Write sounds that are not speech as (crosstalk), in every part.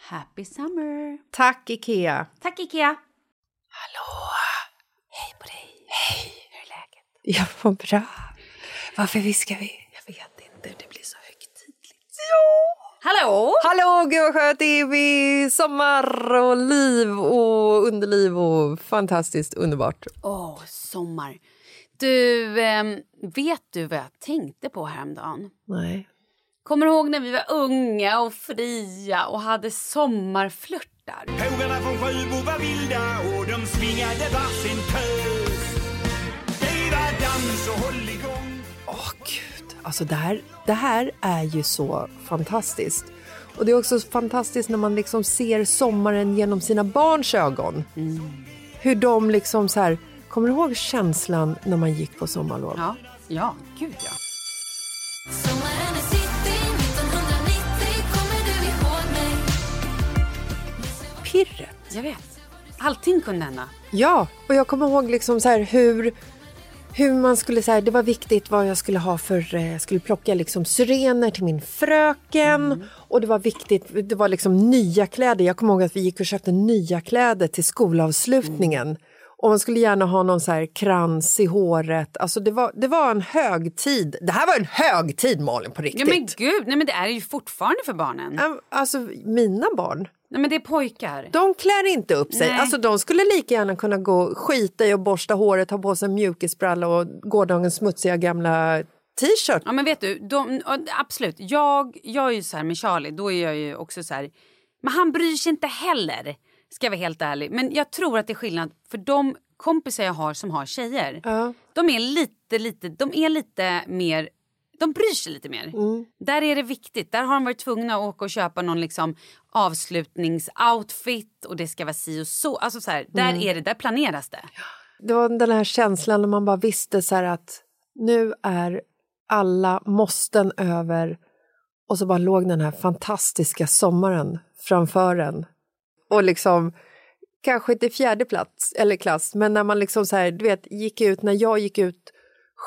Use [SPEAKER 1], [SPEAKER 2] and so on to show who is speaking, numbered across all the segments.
[SPEAKER 1] Happy summer!
[SPEAKER 2] Tack, Ikea!
[SPEAKER 1] Tack Ikea!
[SPEAKER 2] Jag mår bra. Varför viskar vi? Jag vet inte. Det blir så högtidligt. Ja!
[SPEAKER 1] Hallå!
[SPEAKER 2] Hallå, gud vad skönt det är med sommar och liv och underliv och fantastiskt underbart.
[SPEAKER 1] Åh, sommar! Du, ehm, vet du vad jag tänkte på häromdagen?
[SPEAKER 2] Nej.
[SPEAKER 1] Kommer du ihåg när vi var unga och fria och hade sommarflörtar?
[SPEAKER 3] Pågarna från Sjöbo var vilda och de svingade varsin pös. Det var dans och hålligång.
[SPEAKER 2] Åh gud, alltså det här, det här är ju så fantastiskt. Och det är också fantastiskt när man liksom ser sommaren genom sina barns ögon. Hur de liksom så här, kommer du ihåg känslan när man gick på sommarlov?
[SPEAKER 1] Ja, ja, gud ja.
[SPEAKER 4] Sommaren i city 1990 Kommer du ihåg mig?
[SPEAKER 2] Pirret.
[SPEAKER 1] Jag vet. Allting kunde hända.
[SPEAKER 2] Ja, och jag kommer ihåg liksom så här hur, hur man skulle säga, det var viktigt vad jag skulle ha för, eh, jag skulle plocka liksom syrener till min fröken
[SPEAKER 1] Mm.
[SPEAKER 2] och det var viktigt, det var liksom nya kläder. Jag kommer ihåg att vi gick och köpte nya kläder till skolavslutningen.
[SPEAKER 1] Mm.
[SPEAKER 2] Och man skulle gärna ha någon så här krans i håret. Alltså det var, det var en högtid. Det här var en högtid Malin, på
[SPEAKER 1] Ja
[SPEAKER 2] riktigt.
[SPEAKER 1] men gud, nej men det är det ju fortfarande för barnen.
[SPEAKER 2] Äm, Alltså mina barn,
[SPEAKER 1] Nej men det är pojkar.
[SPEAKER 2] de klär inte upp sig.
[SPEAKER 1] Nej.
[SPEAKER 2] Alltså de skulle lika gärna kunna gå skita i och borsta håret, ha på sig en mjukisbralla och gårdagens smutsiga gamla t-shirt.
[SPEAKER 1] Ja men vet du, de, ja, absolut. Jag, jag är ju så här med Charlie, då är jag ju också så här Men han bryr sig inte heller, ska jag vara helt ärlig. Men jag tror att det är skillnad för de kompisar jag har som har tjejer.
[SPEAKER 2] Ja.
[SPEAKER 1] De är lite, lite, de är lite mer... De bryr sig lite mer.
[SPEAKER 2] Mm.
[SPEAKER 1] Där är det viktigt. Där har de varit tvungna att åka och köpa någon liksom avslutningsoutfit och det ska vara si och så. Alltså så här, där
[SPEAKER 2] Mm.
[SPEAKER 1] är det, där planeras det.
[SPEAKER 2] Det var den här känslan när man bara visste så här att nu är alla måsten över och så bara låg den här fantastiska sommaren framför en. Och liksom, kanske inte i fjärde plats eller klass, men när man liksom så här, du vet, gick ut, när jag gick ut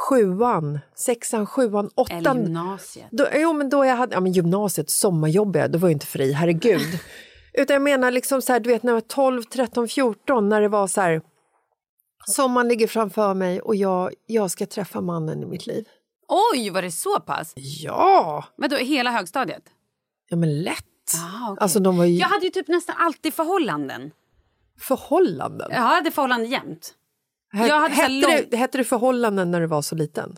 [SPEAKER 2] sjuan, sexan, sjuan,
[SPEAKER 1] Eller
[SPEAKER 2] åttan.
[SPEAKER 1] gymnasiet.
[SPEAKER 2] Då, jo, men då jag hade, ja men gymnasiet, sommarjobb, ja, då var jag inte fri, herregud.
[SPEAKER 1] (laughs)
[SPEAKER 2] Utan jag menar liksom så här, du vet när jag var 12, 13, 14, när det var så här, sommaren ligger framför mig och jag, jag ska träffa mannen i mitt liv.
[SPEAKER 1] Oj, var det så pass?
[SPEAKER 2] Ja!
[SPEAKER 1] Men då hela högstadiet?
[SPEAKER 2] Ja men lätt.
[SPEAKER 1] Ah, okej.
[SPEAKER 2] Alltså de var ju
[SPEAKER 1] Jag hade ju typ nästan alltid förhållanden.
[SPEAKER 2] förhållanden.
[SPEAKER 1] Jag hade förhållanden jämt.
[SPEAKER 2] He-
[SPEAKER 1] jag hade så här
[SPEAKER 2] hette, det, hette det förhållanden när du var så liten?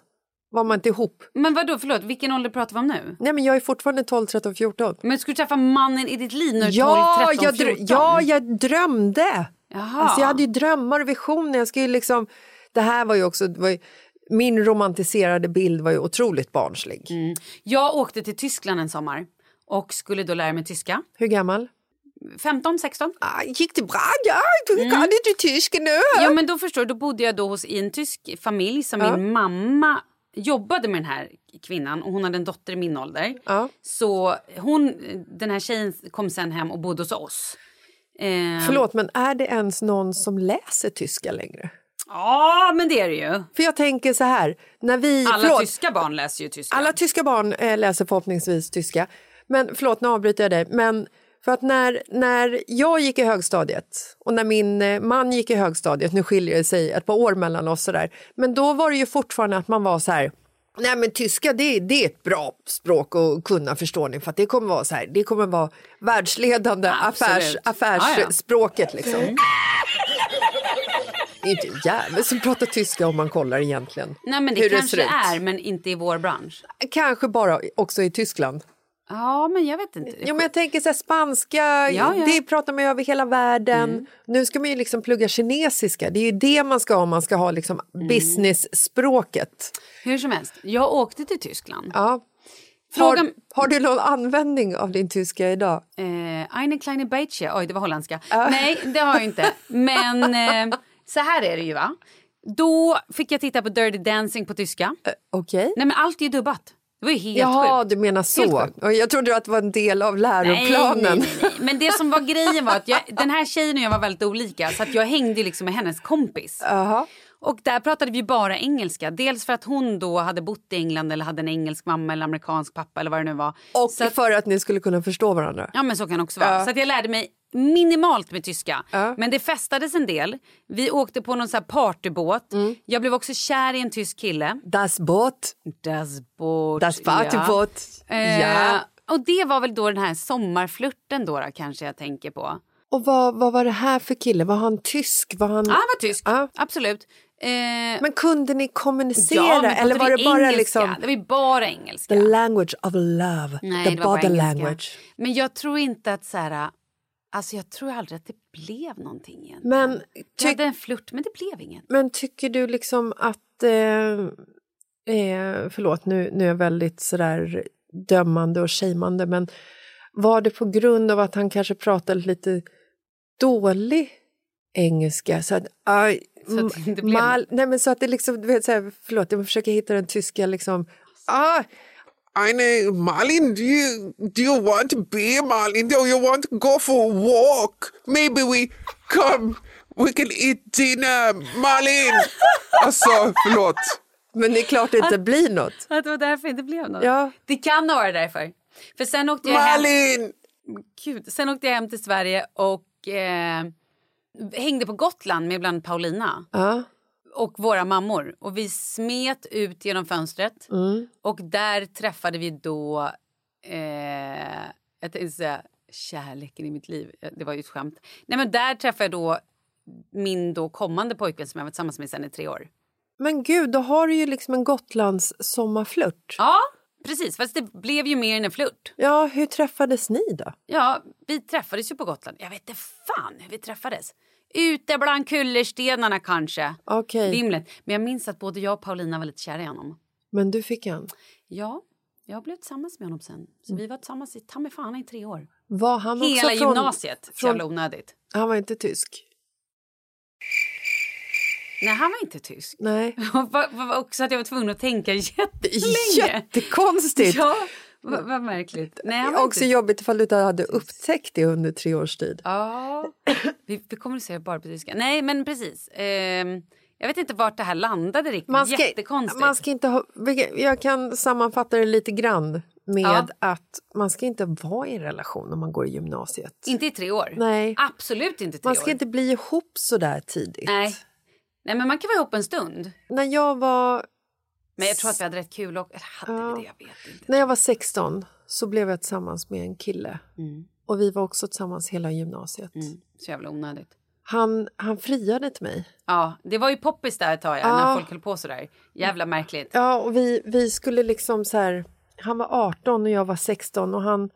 [SPEAKER 2] Var man inte ihop?
[SPEAKER 1] Men vad då? förlåt, vilken ålder pratar vi om nu?
[SPEAKER 2] Nej men jag är fortfarande 12, 13, 14.
[SPEAKER 1] Men skulle du träffa mannen i ditt liv när du är 12, 13,
[SPEAKER 2] jag
[SPEAKER 1] 14?
[SPEAKER 2] drö- ja, jag drömde.
[SPEAKER 1] Jaha.
[SPEAKER 2] Alltså, jag hade ju drömmar och visioner. Jag skulle ju liksom, det här var ju också... Det var ju, min romantiserade bild var ju otroligt barnslig.
[SPEAKER 1] Jag åkte till Tyskland en sommar och skulle då lära mig tyska.
[SPEAKER 2] Hur gammal?
[SPEAKER 1] 15, 16?
[SPEAKER 2] Ah, gick det bra? Ja, du kan inte tyska nu.
[SPEAKER 1] Ja, men då förstår du, då bodde jag då hos, i en tysk familj som min mamma jobbade med den här kvinnan och hon hade en dotter i min ålder.
[SPEAKER 2] Ja.
[SPEAKER 1] Så hon, den här tjejen kom sen hem och bodde hos oss. Eh,
[SPEAKER 2] Förlåt, men är det ens någon som läser tyska längre?
[SPEAKER 1] Ja, men det är det ju.
[SPEAKER 2] För jag tänker så här, när vi...
[SPEAKER 1] Alla
[SPEAKER 2] förlåt,
[SPEAKER 1] tyska barn läser ju tyska.
[SPEAKER 2] Alla tyska barn eh, läser förhoppningsvis tyska. Men förlåt, nu avbryter jag dig. Men för att när, när jag gick i högstadiet och när min eh, man gick i högstadiet, nu skiljer det sig ett par år mellan oss sådär, men då var det ju fortfarande att man var så här Nej men tyska det, det är ett bra språk att kunna förstå nu för att det kommer vara så här, det kommer vara världsledande
[SPEAKER 1] Absolut.
[SPEAKER 2] affärs,
[SPEAKER 1] Ja, ja.
[SPEAKER 2] affärsspråket liksom. Det är inte en jävel som pratar tyska om man kollar egentligen.
[SPEAKER 1] Nej, men det
[SPEAKER 2] hur
[SPEAKER 1] kanske
[SPEAKER 2] ser
[SPEAKER 1] det
[SPEAKER 2] ut.
[SPEAKER 1] är, men inte i vår bransch.
[SPEAKER 2] Kanske bara också i Tyskland.
[SPEAKER 1] Ja, men jag vet inte.
[SPEAKER 2] Jo, men jag tänker så här, spanska,
[SPEAKER 1] Ja, Mm. ja.
[SPEAKER 2] det pratar man ju över hela världen. Nu ska man ju liksom plugga kinesiska, det är ju det man ska ha om man ska ha liksom
[SPEAKER 1] Mm.
[SPEAKER 2] business-språket.
[SPEAKER 1] Hur som helst, jag åkte till Tyskland.
[SPEAKER 2] Ja.
[SPEAKER 1] Frågan-
[SPEAKER 2] Har, har du någon användning av din tyska idag?
[SPEAKER 1] Eh, eine kleine Beitsche. Oj, det var holländska. Nej, det har jag inte. Men eh, så här är det ju, va? Då fick jag titta på Dirty Dancing på tyska.
[SPEAKER 2] Okej.
[SPEAKER 1] Nej, men allt är ju dubbat. Det var ju helt
[SPEAKER 2] Jaha,
[SPEAKER 1] sjukt.
[SPEAKER 2] du menar så.
[SPEAKER 1] sjukt.
[SPEAKER 2] Och Jag trodde att det var en del av läroplanen.
[SPEAKER 1] Nej, nej, nej, nej. Men det som var grejen var att jag, den här tjejen och jag var väldigt olika så att jag hängde ju liksom med hennes kompis.
[SPEAKER 2] Jaha.
[SPEAKER 1] Och där pratade vi bara engelska. Dels för att hon då hade bott i England eller hade en engelsk mamma eller amerikansk pappa eller vad det nu var.
[SPEAKER 2] Och
[SPEAKER 1] så att,
[SPEAKER 2] för att ni skulle kunna förstå varandra.
[SPEAKER 1] ja men så kan det också vara. Så att jag lärde mig minimalt med tyska.
[SPEAKER 2] Ja.
[SPEAKER 1] Men det festades en del. Vi åkte på någon så här partybåt.
[SPEAKER 2] Mm.
[SPEAKER 1] Jag blev också kär i en tysk kille.
[SPEAKER 2] Das Boot,
[SPEAKER 1] Das Boot.
[SPEAKER 2] das Partyboot. Ja.
[SPEAKER 1] Eh, Och det var väl då den här sommarflirten då, då kanske jag tänker på.
[SPEAKER 2] Och vad, vad var det här för kille? Var han tysk? Var han...
[SPEAKER 1] Ja, han var Ah, tysk.
[SPEAKER 2] Ja.
[SPEAKER 1] Absolut. Eh,
[SPEAKER 2] Men kunde ni kommunicera
[SPEAKER 1] ja, men
[SPEAKER 2] eller
[SPEAKER 1] pratade
[SPEAKER 2] var
[SPEAKER 1] vi
[SPEAKER 2] det bara
[SPEAKER 1] engelska?
[SPEAKER 2] liksom
[SPEAKER 1] Det var ju bara engelska.
[SPEAKER 2] the language of love,
[SPEAKER 1] Nej,
[SPEAKER 2] the
[SPEAKER 1] det var
[SPEAKER 2] body
[SPEAKER 1] bara engelska.
[SPEAKER 2] language?
[SPEAKER 1] Men jag tror inte att så här... Alltså jag tror aldrig att det blev någonting igen.
[SPEAKER 2] Men,
[SPEAKER 1] jag
[SPEAKER 2] ty-
[SPEAKER 1] hade en flört men det blev inget.
[SPEAKER 2] men tycker du liksom att... Eh, eh, förlåt, nu, nu är jag väldigt sådär dömande och shameande, men var det på grund av att han kanske pratade lite dålig engelska? Så att, aj,
[SPEAKER 1] Så att det inte blev
[SPEAKER 2] mal, nej, men så att det liksom, du vet, så här, förlåt, jag försöker hitta den tyska liksom... Ah,
[SPEAKER 5] Eine Marlin, do you, do you want to be Marlin? Do you want to go for a walk? Maybe we come, we can eat dinner, Marlin. Alltså, förlåt.
[SPEAKER 2] men det är klart det
[SPEAKER 1] Ah!
[SPEAKER 2] inte blir något.
[SPEAKER 1] (laughs) Att det var därför det inte blev något.
[SPEAKER 2] Ja.
[SPEAKER 1] Det kan ha varit därför. För sen åkte jag hem,
[SPEAKER 5] Marlin!
[SPEAKER 1] Gud, sen åkte jag hem till Sverige och eh, hängde på Gotland med bland Paulina
[SPEAKER 2] Ja.
[SPEAKER 1] och våra mammor. Och vi smet ut genom fönstret och där träffade vi då... Eh, jag tänkte säga kärleken i mitt liv. Det var ju ett skämt. Nej, men där träffade jag då min då kommande pojkvän som jag var tillsammans med sen i tre år.
[SPEAKER 2] Men gud, då har du ju liksom en Gotlands sommarflört.
[SPEAKER 1] Ja, Precis, fast det blev ju mer än en flört.
[SPEAKER 2] Ja, hur träffades ni då?
[SPEAKER 1] Ja, vi träffades ju på Gotland. Jag vet inte fan hur vi träffades. Ute bland kullerstenarna kanske.
[SPEAKER 2] Okej.
[SPEAKER 1] Vimlet. Men jag minns att både jag och Paulina var lite kära i honom.
[SPEAKER 2] Men du fick en.
[SPEAKER 1] Ja, jag blev tillsammans med honom sen. Så vi var tillsammans i ta mig fan i tre år.
[SPEAKER 2] Var han Mm. också
[SPEAKER 1] Hela
[SPEAKER 2] från,
[SPEAKER 1] gymnasiet. Så
[SPEAKER 2] från-
[SPEAKER 1] jävla onödigt.
[SPEAKER 2] Han var inte tysk?
[SPEAKER 1] Nej, han var inte tysk. (laughs)
[SPEAKER 2] Nej.
[SPEAKER 1] Och va- va- också att jag var tvungen att tänka (laughs) jättelänge.
[SPEAKER 2] Jättekonstigt!
[SPEAKER 1] Ja, va- vad märkligt. Nej, han
[SPEAKER 2] Det
[SPEAKER 1] var
[SPEAKER 2] är
[SPEAKER 1] inte
[SPEAKER 2] också jobbigt ifall du inte hade upptäckt det under tre års tid.
[SPEAKER 1] Ja,
[SPEAKER 2] (coughs)
[SPEAKER 1] vi, vi kommunicerar bara på tyska. Nej, men precis. Ehm, jag vet inte vart det här landade riktigt.
[SPEAKER 2] Man ska,
[SPEAKER 1] Jättekonstigt.
[SPEAKER 2] man ska inte ha, vilka- jag kan sammanfatta det lite grann med
[SPEAKER 1] Ja.
[SPEAKER 2] att man ska inte vara i en relation om man går i gymnasiet.
[SPEAKER 1] Inte i tre år.
[SPEAKER 2] Nej.
[SPEAKER 1] Absolut inte i tre
[SPEAKER 2] Man ska
[SPEAKER 1] år.
[SPEAKER 2] inte bli ihop så där tidigt.
[SPEAKER 1] Nej. Nej, men man kan vara ihop en stund.
[SPEAKER 2] När jag var
[SPEAKER 1] Men jag tror att vi hade rätt kul. Och, eller hade vi det? Jag vet inte.
[SPEAKER 2] När jag var 16 så blev jag tillsammans med en kille.
[SPEAKER 1] Mm.
[SPEAKER 2] Och vi var också tillsammans hela gymnasiet.
[SPEAKER 1] Så jävla onödigt.
[SPEAKER 2] Han, han friade till mig.
[SPEAKER 1] Ja, det var ju poppis där ett tag, ja,
[SPEAKER 2] Ja.
[SPEAKER 1] när folk höll på så där. Jävla märkligt.
[SPEAKER 2] Ja, och vi, vi skulle liksom så här... Han var 18 och jag var 16 och han,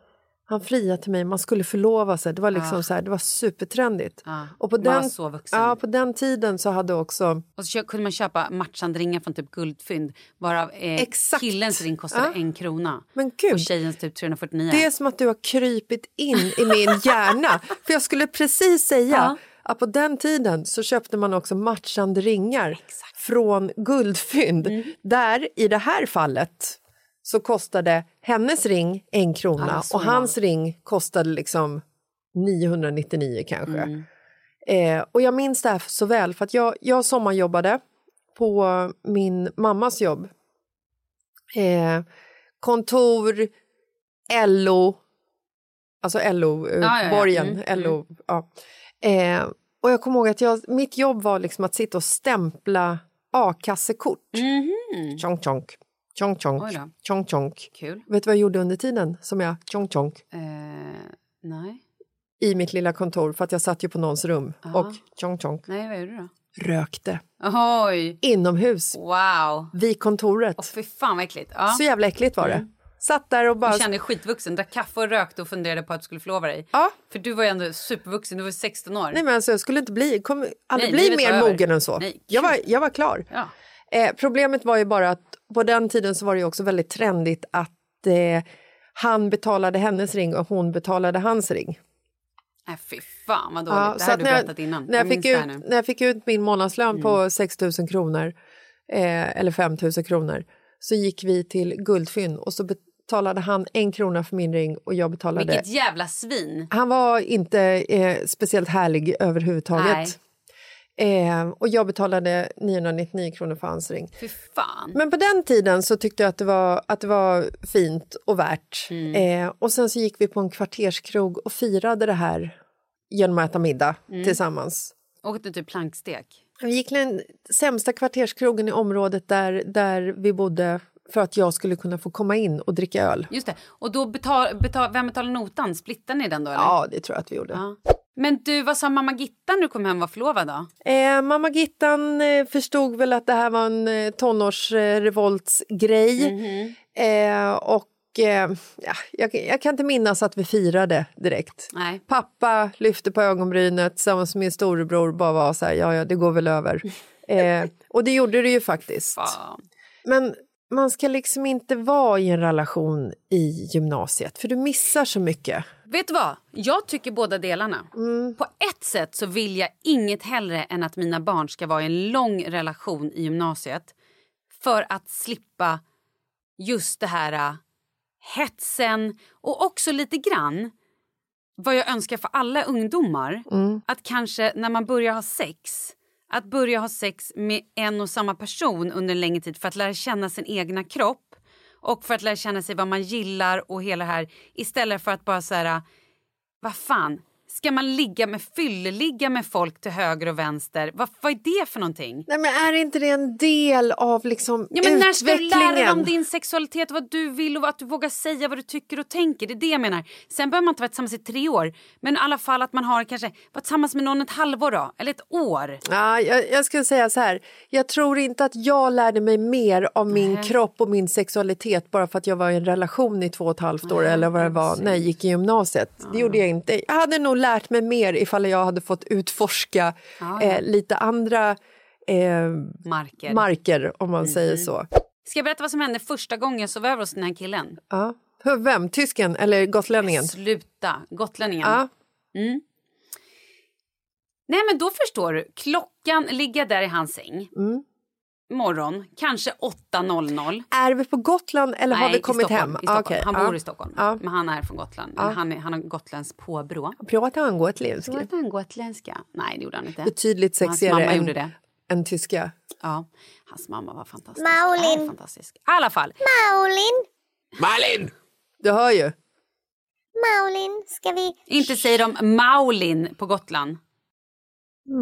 [SPEAKER 2] han friade till mig. Man skulle förlova sig. Det var liksom så här, det var supertrendigt.
[SPEAKER 1] Ja,
[SPEAKER 2] Och på
[SPEAKER 1] man Ah. var
[SPEAKER 2] den,
[SPEAKER 1] så vuxen.
[SPEAKER 2] ja, på den tiden så hade också...
[SPEAKER 1] Och så kö- kunde man köpa matchande ringar från typ guldfynd varav eh,
[SPEAKER 2] Exakt.
[SPEAKER 1] killens ring kostade
[SPEAKER 2] Ja.
[SPEAKER 1] en krona
[SPEAKER 2] Men gud.
[SPEAKER 1] och tjejens typ 349.
[SPEAKER 2] Det är som att du har krypit in i min (laughs) hjärna. För jag skulle precis säga
[SPEAKER 1] Ja.
[SPEAKER 2] att på den tiden så köpte man också matchande ringar från guldfynd.
[SPEAKER 1] Mm.
[SPEAKER 2] Där, i det här fallet, så kostade hennes ring en
[SPEAKER 1] Ja, det
[SPEAKER 2] krona
[SPEAKER 1] var så
[SPEAKER 2] och hans ring kostade liksom 999 kanske.
[SPEAKER 1] Mm.
[SPEAKER 2] Eh, och jag minns det här så väl för att jag, jag sommarjobbade på min mammas jobb. Eh, kontor, LO, alltså
[SPEAKER 1] Ja, ja, ja.
[SPEAKER 2] LO-borgen.
[SPEAKER 1] Mm, mm.
[SPEAKER 2] LO, ja. eh, och jag kommer ihåg att jag, mitt jobb var liksom att sitta och stämpla a-kassekort.
[SPEAKER 1] Mhm.
[SPEAKER 2] Tjonk, tjonk, tjonk, tjonk,
[SPEAKER 1] Oj då.
[SPEAKER 2] tjonk, tjonk.
[SPEAKER 1] Kul.
[SPEAKER 2] Vet du vad jag gjorde under tiden som jag tjonk, tjonk
[SPEAKER 1] Eh, nej.
[SPEAKER 2] i mitt lilla kontor för att jag satt ju på någons rum
[SPEAKER 1] Ah.
[SPEAKER 2] och tjonk, tjonk
[SPEAKER 1] nej, vad gjorde du då?
[SPEAKER 2] rökte
[SPEAKER 1] Oj!
[SPEAKER 2] inomhus
[SPEAKER 1] Wow!
[SPEAKER 2] vid kontoret.
[SPEAKER 1] Åh, fy fan vad äckligt. Ja.
[SPEAKER 2] Så jävla äckligt var det. Satt där och bara...
[SPEAKER 1] Du kände dig skitvuxen, drack kaffe och rökte och funderade på att du skulle förlova dig.
[SPEAKER 2] Ja.
[SPEAKER 1] För du var ju ändå supervuxen, du var 16 år.
[SPEAKER 2] Nej, men alltså, jag skulle inte bli, kom,
[SPEAKER 1] Nej,
[SPEAKER 2] aldrig bli
[SPEAKER 1] livet
[SPEAKER 2] mer
[SPEAKER 1] var över.
[SPEAKER 2] mogen än så.
[SPEAKER 1] Nej, kul.
[SPEAKER 2] jag, var, jag var klar.
[SPEAKER 1] Ja.
[SPEAKER 2] Eh, problemet var ju bara att på den tiden så var det ju också väldigt trendigt att eh, han betalade hennes ring och hon betalade hans ring.
[SPEAKER 1] Nej, fy fan vad dåligt.
[SPEAKER 2] Ja,
[SPEAKER 1] det
[SPEAKER 2] så
[SPEAKER 1] här har
[SPEAKER 2] att
[SPEAKER 1] du
[SPEAKER 2] när jag-
[SPEAKER 1] berättat innan.
[SPEAKER 2] När jag,
[SPEAKER 1] minns
[SPEAKER 2] fick
[SPEAKER 1] det
[SPEAKER 2] ut,
[SPEAKER 1] här nu. Mm.
[SPEAKER 2] när jag fick ut min månadslön på 6 000 kronor, eh, eller 5 000 kronor, så gick vi till Guldfynd och så betalade han en krona för min ring och jag betalade...
[SPEAKER 1] Vilket jävla svin.
[SPEAKER 2] Han var inte eh, speciellt härlig överhuvudtaget. Eh, och jag betalade 999 kronor för hans ring.
[SPEAKER 1] Fy fan.
[SPEAKER 2] Men på den tiden så tyckte jag att det var, att det var fint och värt. Eh, och sen så gick vi på en kvarterskrog och firade det här genom att äta middag tillsammans.
[SPEAKER 1] Och du typ plankstek.
[SPEAKER 2] Vi gick till den sämsta kvarterskrogen i området där, där vi bodde för att jag skulle kunna få komma in och dricka öl.
[SPEAKER 1] Just det. Och då betal, betal, vem betalar notan? Splittar ni den då? Eller?
[SPEAKER 2] Ja, det tror jag att vi gjorde.
[SPEAKER 1] Ja. Men du, vad sa mamma Gitta när du kom hem och var förlovad då?
[SPEAKER 2] Eh, mamma Gittan eh, förstod väl att det här var en eh, tonårsrevoltsgrej.
[SPEAKER 1] Mhm.
[SPEAKER 2] eh, och eh, ja, jag, jag kan inte minnas att vi firade direkt.
[SPEAKER 1] Nej.
[SPEAKER 2] Pappa lyfte på ögonbrynet tillsammans med min storebror bara var så här, ja ja det går
[SPEAKER 1] (laughs)
[SPEAKER 2] väl över. eh, och det gjorde det ju faktiskt.
[SPEAKER 1] Fan.
[SPEAKER 2] Men man ska liksom inte vara i en relation i gymnasiet för du missar så mycket.
[SPEAKER 1] Vet du vad? Jag tycker båda delarna. På ett sätt så vill jag inget hellre än att mina barn ska vara i en lång relation i gymnasiet för att slippa just det här äh, hetsen och också lite grann vad jag önskar för alla ungdomar. Att kanske när man börjar ha sex att börja ha sex med en och samma person under en längre tid för att lära känna sin egna kropp och för att lära känna sig äh, vad man gillar och hela det här istället för att bara så här vad fan, Ska man ligga med fylleligga med folk till höger och vänster? Vad, vad är det för någonting?
[SPEAKER 2] Nej, men är inte det en del av liksom
[SPEAKER 1] Ja, men när ska du
[SPEAKER 2] utvecklingen?
[SPEAKER 1] lära dig om din sexualitet, vad du vill och att du vågar säga vad du tycker och tänker? Det är det jag menar. Sen behöver man inte vara tillsammans i tre år, men i alla fall att man har kanske varit tillsammans med någon ett halvår då, eller ett år.
[SPEAKER 2] Ja, jag, jag skulle säga så här. Jag tror inte att jag lärde mig mer av min kropp och min sexualitet bara för att jag var i en relation i två och ett halvt år eller vad det var när jag gick i gymnasiet. Det gjorde jag inte. Jag hade nog lärt mig mer ifall jag hade fått utforska eh, lite andra eh,
[SPEAKER 1] Marker. Mm-hmm.
[SPEAKER 2] marker, om man säger så.
[SPEAKER 1] Ska jag berätta vad som hände första gången jag sov över hos den här killen?
[SPEAKER 2] Ja. Vem? Tysken eller gotlänningen?
[SPEAKER 1] Sluta, gotlänningen.
[SPEAKER 2] Ja.
[SPEAKER 1] Nej men då förstår du, klockan ligger där i hans säng.
[SPEAKER 2] Mm.
[SPEAKER 1] Morgon, kanske 8.00.
[SPEAKER 2] Är vi på Gotland eller har
[SPEAKER 1] Nej,
[SPEAKER 2] vi
[SPEAKER 1] i
[SPEAKER 2] kommit
[SPEAKER 1] Stockholm,
[SPEAKER 2] hem? Ah,
[SPEAKER 1] I Stockholm.
[SPEAKER 2] Okej, Ah.
[SPEAKER 1] Han
[SPEAKER 2] ja.
[SPEAKER 1] bor i Stockholm,
[SPEAKER 2] Ja.
[SPEAKER 1] men han är från Gotland. Men han, är, han har Gotlands påbrå.
[SPEAKER 2] Pratar han gotländska?
[SPEAKER 1] Pratade han gotländska? Nej, det gjorde han inte.
[SPEAKER 2] Betydligt
[SPEAKER 1] Hans
[SPEAKER 2] sexigare
[SPEAKER 1] mamma
[SPEAKER 2] typ än,
[SPEAKER 1] gjorde det.
[SPEAKER 2] än tyska.
[SPEAKER 1] Ja, hans mamma var fantastisk. Maulin. Är fantastisk. I alla fall.
[SPEAKER 5] Malin!
[SPEAKER 2] Du hör ju.
[SPEAKER 6] Maulin, ska vi...
[SPEAKER 1] Inte säger de Maulin på Gotland.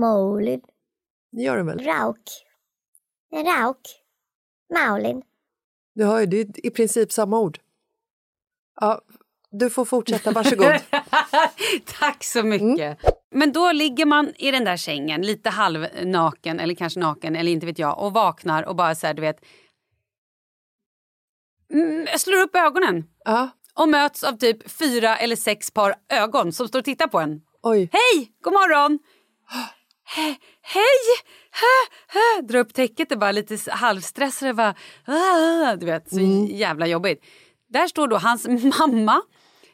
[SPEAKER 6] Maulin.
[SPEAKER 2] Det gör de väl?
[SPEAKER 6] Rauk. Rauk. Maulin.
[SPEAKER 2] Du hör ju, det är i princip samma ord. Ja, du får fortsätta, (laughs) varsågod.
[SPEAKER 1] (laughs) Tack så mycket. Men då ligger man i den där sängen, lite halvnaken eller kanske naken eller inte vet jag och vaknar och bara så här, du vet. Mm, jag slår upp ögonen
[SPEAKER 2] ja,
[SPEAKER 1] och möts av typ fyra eller sex par ögon som står och tittar på en.
[SPEAKER 2] oj.
[SPEAKER 1] Hej, god morgon! He- hej! Hö, hö. Dra upp täcket och bara lite s- halvstressade. Bara, "Ah", du vet, så
[SPEAKER 2] Mm.
[SPEAKER 1] jävla jobbigt. Där står då hans (laughs) mamma,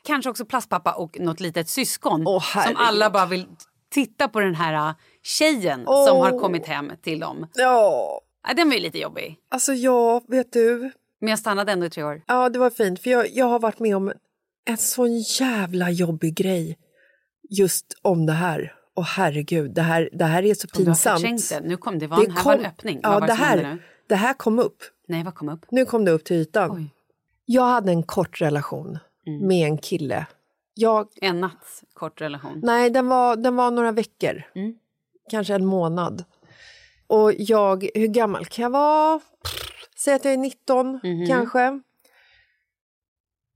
[SPEAKER 1] kanske också plastpappa och något litet syskon
[SPEAKER 2] Åh,
[SPEAKER 1] som
[SPEAKER 2] herregud.
[SPEAKER 1] alla bara vill titta på den här äh, tjejen som har kommit hem till dem.
[SPEAKER 2] Ja,
[SPEAKER 1] Äh, Den var ju lite jobbig,
[SPEAKER 2] alltså ja, vet du.
[SPEAKER 1] men jag stannade ändå i tre år.
[SPEAKER 2] Ja, det var fint, för jag, jag har varit med om en sån jävla jobbig grej just om det här. Och herregud, det här, det här är så
[SPEAKER 1] Om du har
[SPEAKER 2] pinsamt.
[SPEAKER 1] förträngt det. Nu kom det, var en, här var en öppning.
[SPEAKER 2] Ja,
[SPEAKER 1] vad var
[SPEAKER 2] det,
[SPEAKER 1] det som hände
[SPEAKER 2] här,
[SPEAKER 1] nu?
[SPEAKER 2] det här kom upp.
[SPEAKER 1] Nej, vad kom upp?
[SPEAKER 2] Nu kom det upp till ytan.
[SPEAKER 1] Oj. Mm.
[SPEAKER 2] Jag hade en kort relation med en kille. Jag
[SPEAKER 1] En natt, kort relation.
[SPEAKER 2] Nej, den var, den var några veckor. Kanske en månad. Och jag, hur gammal kan jag vara? Säg att jag är 19 kanske.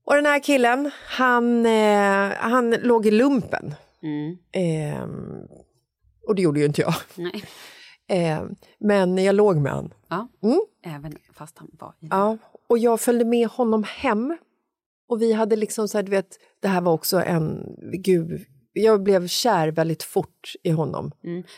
[SPEAKER 2] Och den här killen, han, eh, han låg i lumpen.
[SPEAKER 1] Mm.
[SPEAKER 2] Ehm, och det gjorde ju inte jag. (laughs)
[SPEAKER 1] Nej.
[SPEAKER 2] Ehm, men jag låg med honom.
[SPEAKER 1] Ja.
[SPEAKER 2] Mm.
[SPEAKER 1] Även fast han var i
[SPEAKER 2] Ja, och jag följde med honom hem. Och vi hade liksom så här, du vet, det här var också en, gud, jag blev kär väldigt fort i honom.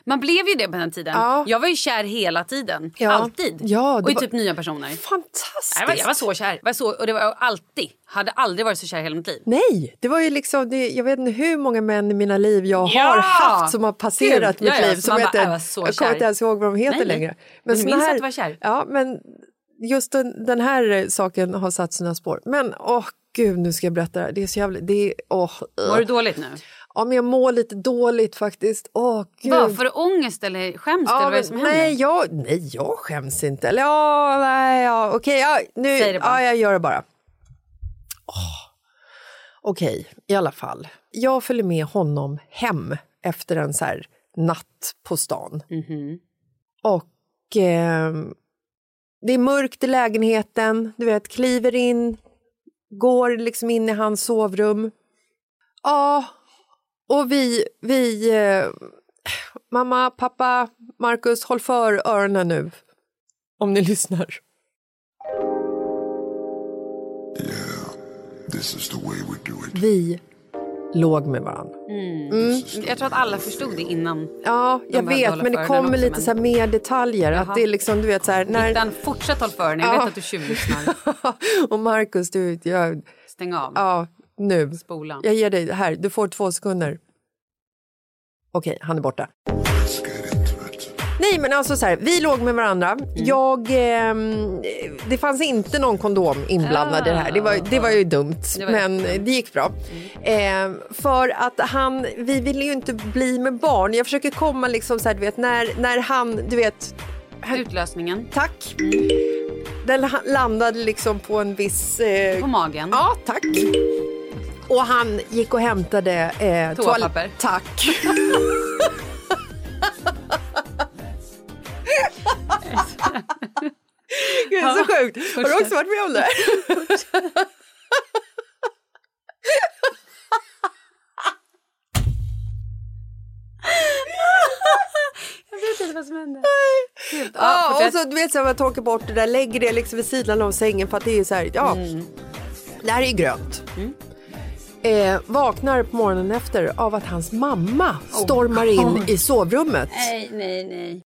[SPEAKER 1] Man blev ju det på den tiden.
[SPEAKER 2] Ja.
[SPEAKER 1] Jag var ju kär hela tiden.
[SPEAKER 2] Ja.
[SPEAKER 1] Alltid.
[SPEAKER 2] Ja, det
[SPEAKER 1] och i
[SPEAKER 2] var-
[SPEAKER 1] typ nya personer.
[SPEAKER 2] Fantastiskt!
[SPEAKER 1] Jag var, jag var så kär. Jag var så, och det var jag alltid. Hade aldrig varit så kär i hela mitt liv.
[SPEAKER 2] Nej, det var ju liksom, det, jag vet inte hur många män i mina liv jag
[SPEAKER 1] Ja!
[SPEAKER 2] har haft som har passerat
[SPEAKER 1] Gud,
[SPEAKER 2] mitt
[SPEAKER 1] ja, ja,
[SPEAKER 2] liv.
[SPEAKER 1] så
[SPEAKER 2] Som
[SPEAKER 1] man
[SPEAKER 2] jag
[SPEAKER 1] bara,
[SPEAKER 2] inte,
[SPEAKER 1] jag var så
[SPEAKER 2] jag kommer
[SPEAKER 1] kär.
[SPEAKER 2] inte ens ihåg vad de heter
[SPEAKER 1] Nej, nej.
[SPEAKER 2] längre.
[SPEAKER 1] Men du
[SPEAKER 2] såna
[SPEAKER 1] minns att du var kär.
[SPEAKER 2] Ja, men just den, den här eh, saken har satt sina spår. Men åh gud, nu ska jag berätta det här. Det är så jävligt, det är, åh.
[SPEAKER 1] Mår du dåligt nu?
[SPEAKER 2] Ja, men jag mår lite dåligt faktiskt. Åh gud.
[SPEAKER 1] Vad, för ångest eller skäms
[SPEAKER 2] Ja,
[SPEAKER 1] eller vad är
[SPEAKER 2] men,
[SPEAKER 1] det som
[SPEAKER 2] nej,
[SPEAKER 1] händer?
[SPEAKER 2] jag, nej, jag skäms inte. Eller ja, nej, ja, okej, ja, nu,
[SPEAKER 1] Säg det bara.
[SPEAKER 2] ja, jag gör det bara. Åh. Okej, i alla fall. Jag följer med honom hem efter en så här natt på stan.
[SPEAKER 1] Mhm.
[SPEAKER 2] Och eh, det är mörkt i lägenheten, du vet, kliver in, går liksom in i hans sovrum. Ja, och vi, vi eh, mamma, pappa, Marcus, håll för öronen nu. Om ni (laughs) lyssnar.
[SPEAKER 7] This is the way we do it.
[SPEAKER 2] Vi låg med varandra.
[SPEAKER 1] Jag tror att alla förstod det innan.
[SPEAKER 2] Ja, jag
[SPEAKER 1] började
[SPEAKER 2] vet,
[SPEAKER 1] hålla
[SPEAKER 2] men
[SPEAKER 1] för
[SPEAKER 2] det
[SPEAKER 1] öronen
[SPEAKER 2] kommer
[SPEAKER 1] också,
[SPEAKER 2] lite
[SPEAKER 1] men-
[SPEAKER 2] så här mer detaljer.
[SPEAKER 1] Jaha.
[SPEAKER 2] Att det är liksom, du vet så här, när...
[SPEAKER 1] Utan fortsätt håll för den. Jag
[SPEAKER 2] Ja.
[SPEAKER 1] vet att du tjuvlyssnar.
[SPEAKER 2] (laughs) och Marcus, du, jag,
[SPEAKER 1] Stäng av.
[SPEAKER 2] ja, nu.
[SPEAKER 1] Spola.
[SPEAKER 2] Jag ger dig, här, du får två sekunder. Okej, han är borta.
[SPEAKER 7] Let's get into it.
[SPEAKER 2] Nej, men alltså så här, vi låg med varandra. Jag, ehm, det fanns inte någon kondom inblandad i det här. Det var, det var ju dumt,
[SPEAKER 1] var
[SPEAKER 2] men det gick bra. Ehm, för att han, vi ville ju inte bli med barn. Jag försöker komma liksom så här, du vet, när, när han, du vet,
[SPEAKER 1] Utlösningen.
[SPEAKER 2] tack. Den ha- landade liksom på en viss... eh,
[SPEAKER 1] På magen.
[SPEAKER 2] Ja, tack. Och han gick och hämtade eh,
[SPEAKER 1] Toapapper.
[SPEAKER 2] toal- Tack.
[SPEAKER 1] (laughs)
[SPEAKER 2] Gud, så sjukt. Har du också varit med
[SPEAKER 1] (laughs)
[SPEAKER 2] om det?
[SPEAKER 1] Jag vet inte vad som hände. Helt
[SPEAKER 2] Ja, och
[SPEAKER 1] fortsätt.
[SPEAKER 2] så du vet så här, man torkar bort det där, lägger det liksom vid sidan av sängen för att det är ju så här, ja,
[SPEAKER 1] Mm.
[SPEAKER 2] det här är ju grönt. Eh, vaknar på morgonen efter av att hans mamma stormar
[SPEAKER 1] (laughs)
[SPEAKER 2] in i sovrummet.
[SPEAKER 1] Oh. Nej, nej, nej.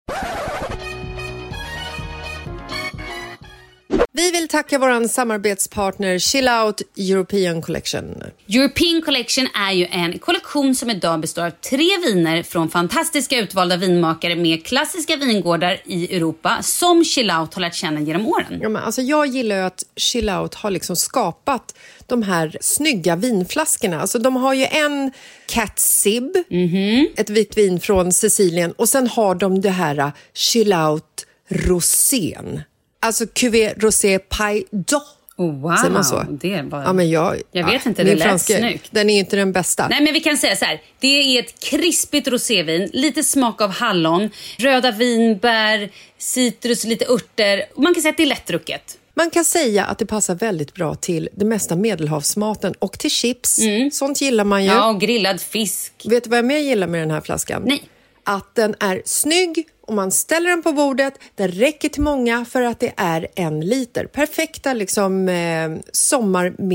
[SPEAKER 2] Vi vill tacka vår samarbetspartner Chill Out European Collection.
[SPEAKER 8] European Collection är ju en kollektion som idag består av tre viner från fantastiska utvalda vinmakare med klassiska vingårdar i Europa som Chillout har lärt känna genom åren.
[SPEAKER 2] Ja, men alltså jag gillar ju att Chill Out har liksom skapat de här snygga vinflaskorna. Alltså de har ju en Cat Sib,
[SPEAKER 8] Mhm.
[SPEAKER 2] ett vitt vin från Sicilien och sen har de det här uh, Chill Out Rosén. Alltså Cuvée Rosé Pie d'Or.
[SPEAKER 8] Oh, Wow,
[SPEAKER 2] Säger man så?
[SPEAKER 8] det var...
[SPEAKER 2] Ja, men jag,
[SPEAKER 8] Jag vet
[SPEAKER 2] ja,
[SPEAKER 8] inte, det
[SPEAKER 2] min
[SPEAKER 8] lät
[SPEAKER 2] franska,
[SPEAKER 8] snyggt.
[SPEAKER 2] Den är ju inte den bästa.
[SPEAKER 8] Nej men vi kan säga så här. Det är ett krispigt rosévin, lite smak av hallon, röda vinbär, citrus, lite örter. Man kan säga att det är lättdrucket.
[SPEAKER 2] Man kan säga att det passar väldigt bra till det mesta medelhavsmaten och till chips. Sånt gillar man ju.
[SPEAKER 8] Mm. Ja, och grillad fisk.
[SPEAKER 2] Vet du vad jag mer gillar med den här flaskan?
[SPEAKER 8] Nej.
[SPEAKER 2] Att den är snygg och man ställer den på bordet. Den räcker till många för att det är en liter. Perfekta liksom, eh,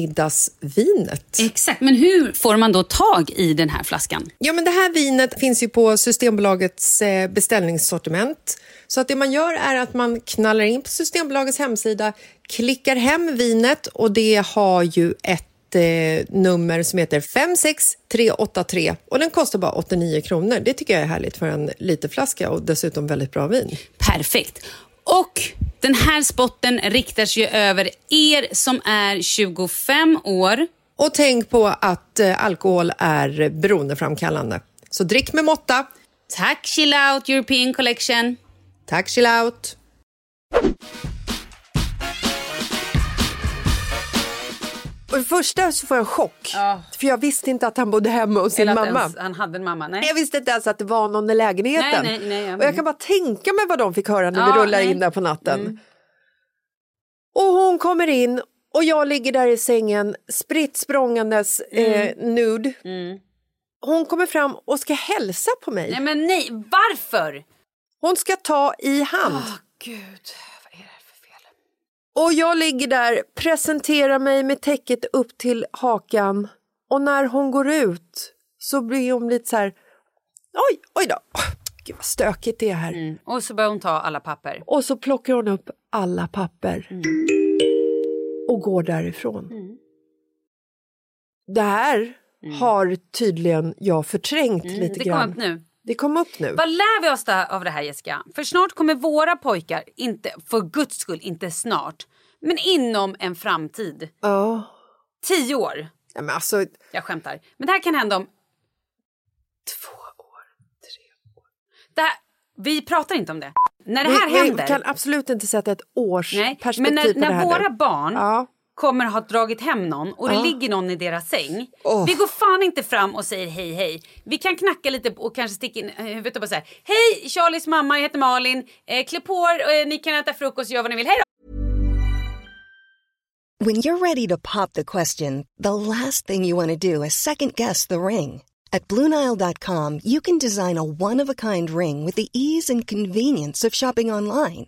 [SPEAKER 2] sommarmiddagsvinet.
[SPEAKER 8] Exakt, men hur får man då tag i den här flaskan?
[SPEAKER 2] Ja, men det här vinet finns ju på Systembolagets eh, beställningssortiment. Så att det man gör är att man knallar in på Systembolagets hemsida, klickar hem vinet och det har ju ett eh, nummer som heter 56383 och den kostar bara 89 kronor. Det tycker jag är härligt för en literflaska och dessutom väldigt bra vin.
[SPEAKER 8] Perfekt. Och den här spotten riktar sig ju över er som är 25 år.
[SPEAKER 2] Och tänk på att eh, alkohol är beroendeframkallande. Så drick med måtta.
[SPEAKER 8] Tack Chill Out European Collection.
[SPEAKER 2] Tack chill out! Och det första så får jag en chock. För jag visste inte att han bodde hemma hos sin
[SPEAKER 1] Eller att
[SPEAKER 2] mamma.
[SPEAKER 1] ens, han hade en mamma. Nej.
[SPEAKER 2] Jag visste inte ens att det var någon i lägenheten.
[SPEAKER 1] Nej, nej, nej, jag
[SPEAKER 2] och jag
[SPEAKER 1] menar.
[SPEAKER 2] kan bara tänka mig vad de fick höra när vi
[SPEAKER 1] Ja,
[SPEAKER 2] rullar
[SPEAKER 1] nej. Mm.
[SPEAKER 2] in där på natten. Och hon kommer in och jag ligger där i sängen spritt språngandes
[SPEAKER 1] Mm.
[SPEAKER 2] eh, nude. Hon kommer fram och ska hälsa på mig.
[SPEAKER 1] nej, men nej. Varför?
[SPEAKER 2] Hon ska ta i hand.
[SPEAKER 1] Gud, vad är det här för fel?
[SPEAKER 2] Och jag ligger där, presenterar mig med täcket upp till hakan och när hon går ut så blir hon lite så här, oj, oj då, gud vad stökigt det är här.
[SPEAKER 1] Mm, Och så börjar hon ta alla papper.
[SPEAKER 2] Och så plockar hon upp alla papper
[SPEAKER 1] Mm.
[SPEAKER 2] och går därifrån. Det här har tydligen jag förträngt lite
[SPEAKER 1] Mm. Det kom
[SPEAKER 2] grann.
[SPEAKER 1] upp nu.
[SPEAKER 2] Det kom upp nu.
[SPEAKER 1] Vad lär vi oss det- av det här Jessica? För snart kommer våra pojkar, inte för guds skull, inte snart, men inom en framtid,
[SPEAKER 2] Ja.
[SPEAKER 1] tio år,
[SPEAKER 2] Nej, men alltså,
[SPEAKER 1] jag skämtar, men det här kan hända om två år, tre år. Det här, vi pratar inte om det. När det här
[SPEAKER 2] vi- vi
[SPEAKER 1] händer,
[SPEAKER 2] kan absolut inte sätta ett års
[SPEAKER 1] nej, men
[SPEAKER 2] perspektiv
[SPEAKER 1] när,
[SPEAKER 2] på det
[SPEAKER 1] när
[SPEAKER 2] här
[SPEAKER 1] våra
[SPEAKER 2] nu.
[SPEAKER 1] barn
[SPEAKER 2] Ja.
[SPEAKER 1] kommer ha dragit hem någon och det ligger någon i deras säng. Vi går fan inte fram och säger hej hej. Vi kan knacka lite och kanske sticka in eh, huvudet och bara säga hej Charlies mamma, jag heter Malin, eh, klä på er, eh, ni kan äta frukost, gör vad ni vill, hej då!
[SPEAKER 9] When you're ready to pop the question, the last thing you want to do is second guess the ring. At Bluenile.com, you can design a one of a kind ring with the ease and convenience of shopping online.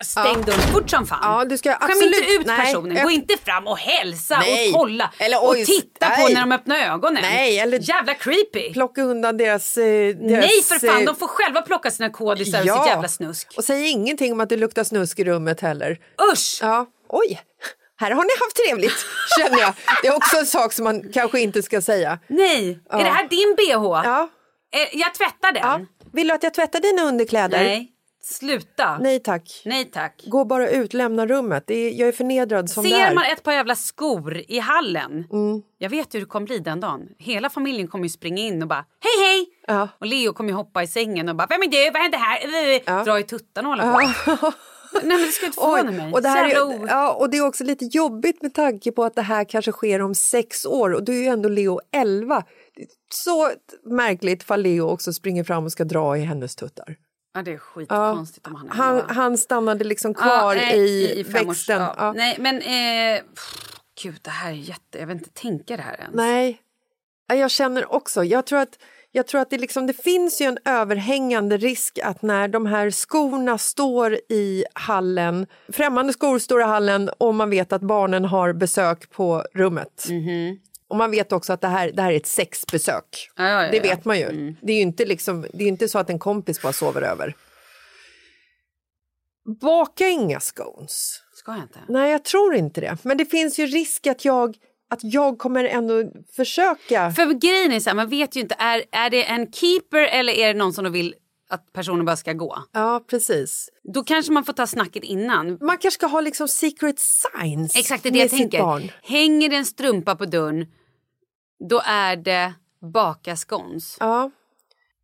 [SPEAKER 1] Stäng dörren fort som fan.
[SPEAKER 2] Ja, du ska
[SPEAKER 1] Skäm
[SPEAKER 2] absolut-
[SPEAKER 1] inte ut
[SPEAKER 2] nej,
[SPEAKER 1] personen.
[SPEAKER 2] jag-
[SPEAKER 1] Gå inte fram och hälsa
[SPEAKER 2] Nej.
[SPEAKER 1] och kolla
[SPEAKER 2] Eller
[SPEAKER 1] och
[SPEAKER 2] oj,
[SPEAKER 1] titta på
[SPEAKER 2] nej.
[SPEAKER 1] när de öppnar ögonen.
[SPEAKER 2] Nej, eller
[SPEAKER 1] Jävla creepy.
[SPEAKER 2] plocka undan deras... eh, deras
[SPEAKER 1] Nej för fan,
[SPEAKER 2] eh,
[SPEAKER 1] de får själva plocka sina kodisar och sitt jävla snusk.
[SPEAKER 2] Och säg ingenting om att det luktar snusk i rummet heller.
[SPEAKER 1] Usch!
[SPEAKER 2] Ja. Oj, här har ni haft trevligt känner jag. Det är också en sak som man kanske inte ska säga.
[SPEAKER 1] Nej,
[SPEAKER 2] Ja.
[SPEAKER 1] är det här din bh?
[SPEAKER 2] Ja.
[SPEAKER 1] Eh, Jag tvättar den.
[SPEAKER 2] Vill du att jag tvättar dina underkläder?
[SPEAKER 1] Nej, sluta.
[SPEAKER 2] Nej tack.
[SPEAKER 1] Nej tack.
[SPEAKER 2] Gå bara ut, lämna rummet. Det är, jag är förnedrad som Mm. det
[SPEAKER 1] Ser
[SPEAKER 2] är.
[SPEAKER 1] man ett par jävla skor i hallen, jag vet hur det kommer bli den dagen. Hela familjen kommer ju springa in och bara hej hej! Och Leo kommer ju hoppa i sängen och bara vem är du, vad hände här? Eh, Dra i tuttarna och hålla på. (laughs) Nej men det ska
[SPEAKER 2] (laughs)
[SPEAKER 1] inte förvåna mig.
[SPEAKER 2] Och det, här
[SPEAKER 1] Så jävla
[SPEAKER 2] är,
[SPEAKER 1] o-
[SPEAKER 2] ja, och det är också lite jobbigt med tanke på att det här kanske sker om sex år och du är ju ändå Leo 11. Det är Så märkligt ifall Leo också springer fram och ska dra i hennes tuttar.
[SPEAKER 1] Ja det är skitkonstigt om han är
[SPEAKER 2] Han,
[SPEAKER 1] elva.
[SPEAKER 2] han stannade liksom
[SPEAKER 1] Ja, eh,
[SPEAKER 2] kvar
[SPEAKER 1] nej,
[SPEAKER 2] i,
[SPEAKER 1] femårs-
[SPEAKER 2] växten.
[SPEAKER 1] ja.
[SPEAKER 2] Ja.
[SPEAKER 1] Nej men eh, pff, gud det här är jätte, jag vill inte tänka det här ens.
[SPEAKER 2] Nej. Ja, jag känner också. Jag tror att, jag tror att det, liksom, det finns ju en överhängande risk att när de här skorna står i hallen, främmande skor står i hallen och man vet att barnen har besök på rummet. Och man vet också att det här, det här är ett sexbesök.
[SPEAKER 1] Mm-hmm. Ja, ja, ja,
[SPEAKER 2] Det
[SPEAKER 1] ja. Mm.
[SPEAKER 2] vet man ju. Det är ju inte, liksom, det är ju inte så att en kompis bara sover över. Baka inga scones.
[SPEAKER 1] Ska jag inte?
[SPEAKER 2] Nej, jag tror inte det. Men det finns ju risk att jag, att jag kommer ändå försöka.
[SPEAKER 1] För grejen är så här, man vet ju inte, är, är det en keeper eller är det någon som de vill att personen bara ska gå?
[SPEAKER 2] Ja, precis.
[SPEAKER 1] Då kanske man får ta snacket innan.
[SPEAKER 2] Man kanske ska ha liksom secret signs
[SPEAKER 1] Exakt det är det
[SPEAKER 2] med
[SPEAKER 1] jag
[SPEAKER 2] sitt
[SPEAKER 1] tänker.
[SPEAKER 2] barn.
[SPEAKER 1] Hänger det en strumpa på dörren, då är det baka scones.
[SPEAKER 2] Ja.